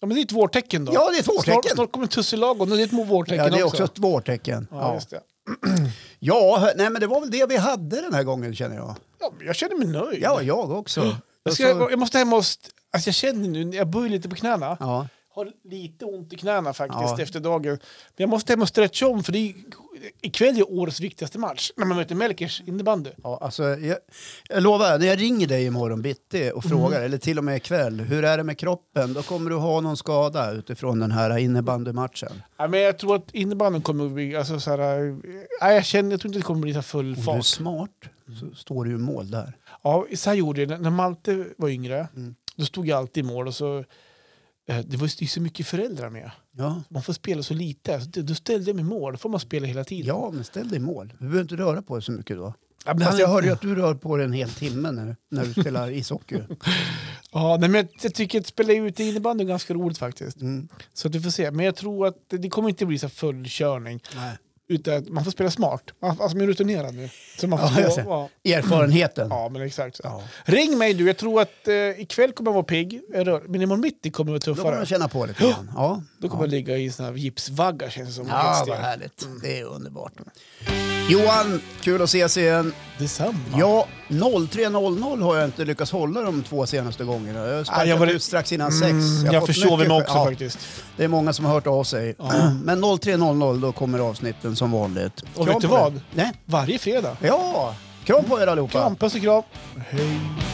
[SPEAKER 2] Ja, men det är ett vårtecken då.
[SPEAKER 1] ja det är ett vårtecken!
[SPEAKER 2] Snart, snart kommer tussilagon och det är ett vårtecken
[SPEAKER 1] Ja, det är också
[SPEAKER 2] också.
[SPEAKER 1] ett vårtecken.
[SPEAKER 2] Ja,
[SPEAKER 1] Ja,
[SPEAKER 2] just det.
[SPEAKER 1] ja. hör- nej, men det var väl det vi hade den här gången känner jag.
[SPEAKER 2] Ja, men jag känner mig nöjd.
[SPEAKER 1] Ja, jag också.
[SPEAKER 2] Mm. jag, ska,
[SPEAKER 1] Och så-
[SPEAKER 2] jag måste hem och... st- Alltså jag känner nu, jag böjer lite på knäna.
[SPEAKER 1] Ja.
[SPEAKER 2] Har lite ont i knäna faktiskt
[SPEAKER 1] Ja.
[SPEAKER 2] efter dagen. Men jag måste hem och stretcha om för det är, ikväll är årets viktigaste match. När man möter Melkers innebandy.
[SPEAKER 1] Ja, alltså, jag, jag lovar, när jag ringer dig imorgon bitti
[SPEAKER 2] Mm.
[SPEAKER 1] och frågar, eller till och med ikväll, hur är det med kroppen? Då kommer du ha någon skada utifrån den här innebandymatchen.
[SPEAKER 2] Ja, men jag tror att innebandyn kommer att bli... Alltså, så här, eh, nej, jag, känner, jag tror inte det kommer bli så här full
[SPEAKER 1] Om du är
[SPEAKER 2] fart. Mm.
[SPEAKER 1] smart så står du i mål där.
[SPEAKER 2] Ja, så här gjorde jag. När- När Malte var yngre,
[SPEAKER 1] Mm.
[SPEAKER 2] då stod jag alltid i mål. Och så, eh, det var ju det är så mycket föräldrar med.
[SPEAKER 1] Ja,
[SPEAKER 2] Man får spela så lite. Så det- Då ställde jag mig i mål. Då får man spela hela tiden.
[SPEAKER 1] ja men ställ dig i mål. Du behöver inte röra på dig så mycket då.
[SPEAKER 2] Ja, men
[SPEAKER 1] Fast
[SPEAKER 2] han-
[SPEAKER 1] jag hörde ju att du rör på dig en hel timme när, när du spelar ishockey.
[SPEAKER 2] Ja, nej, men jag, jag tycker att spela ut i innebandy är ganska roligt faktiskt.
[SPEAKER 1] Mm.
[SPEAKER 2] Så att du får se. Men jag tror att det, det kommer inte bli så här full körning.
[SPEAKER 1] Nej.
[SPEAKER 2] Utan att man får spela smart. Man, alltså man är rutinerad nu. Så man
[SPEAKER 1] Ja,
[SPEAKER 2] får
[SPEAKER 1] jag
[SPEAKER 2] ja,
[SPEAKER 1] ser.
[SPEAKER 2] ja,
[SPEAKER 1] Erfarenheten.
[SPEAKER 2] ja, men exakt. Så.
[SPEAKER 1] Ja.
[SPEAKER 2] Ring mig du. Jag tror att eh, ikväll kommer jag vara pigg. Jag rör- Men imorgon mitt kommer jag vara
[SPEAKER 1] Då kommer
[SPEAKER 2] tuffare.
[SPEAKER 1] man känna på lite grann. Ja.
[SPEAKER 2] Då kommer jag ligga i såna här gipsvaggar känns det Mm. som.
[SPEAKER 1] Ja,
[SPEAKER 2] Ett
[SPEAKER 1] vad
[SPEAKER 2] steg.
[SPEAKER 1] härligt. Det är underbart. Johan, kul att ses igen.
[SPEAKER 2] Detsamma.
[SPEAKER 1] Ja, 03.00 har jag inte lyckats hålla de två senaste gångerna. Jag har sparkat
[SPEAKER 2] Ah, jag var-
[SPEAKER 1] ut strax innan sex.
[SPEAKER 2] Mm,
[SPEAKER 1] har
[SPEAKER 2] jag
[SPEAKER 1] fått mycket
[SPEAKER 2] försov mig
[SPEAKER 1] för-
[SPEAKER 2] också
[SPEAKER 1] ja,
[SPEAKER 2] faktiskt.
[SPEAKER 1] Det är många som har hört av sig. Men 03.00 då kommer avsnitten som vanligt.
[SPEAKER 2] Och
[SPEAKER 1] Kram
[SPEAKER 2] vet du
[SPEAKER 1] på er.
[SPEAKER 2] vad?
[SPEAKER 1] Nej.
[SPEAKER 2] Varje fredag.
[SPEAKER 1] Ja, kram på er allihopa.
[SPEAKER 2] Kram, puss och kram. Hej.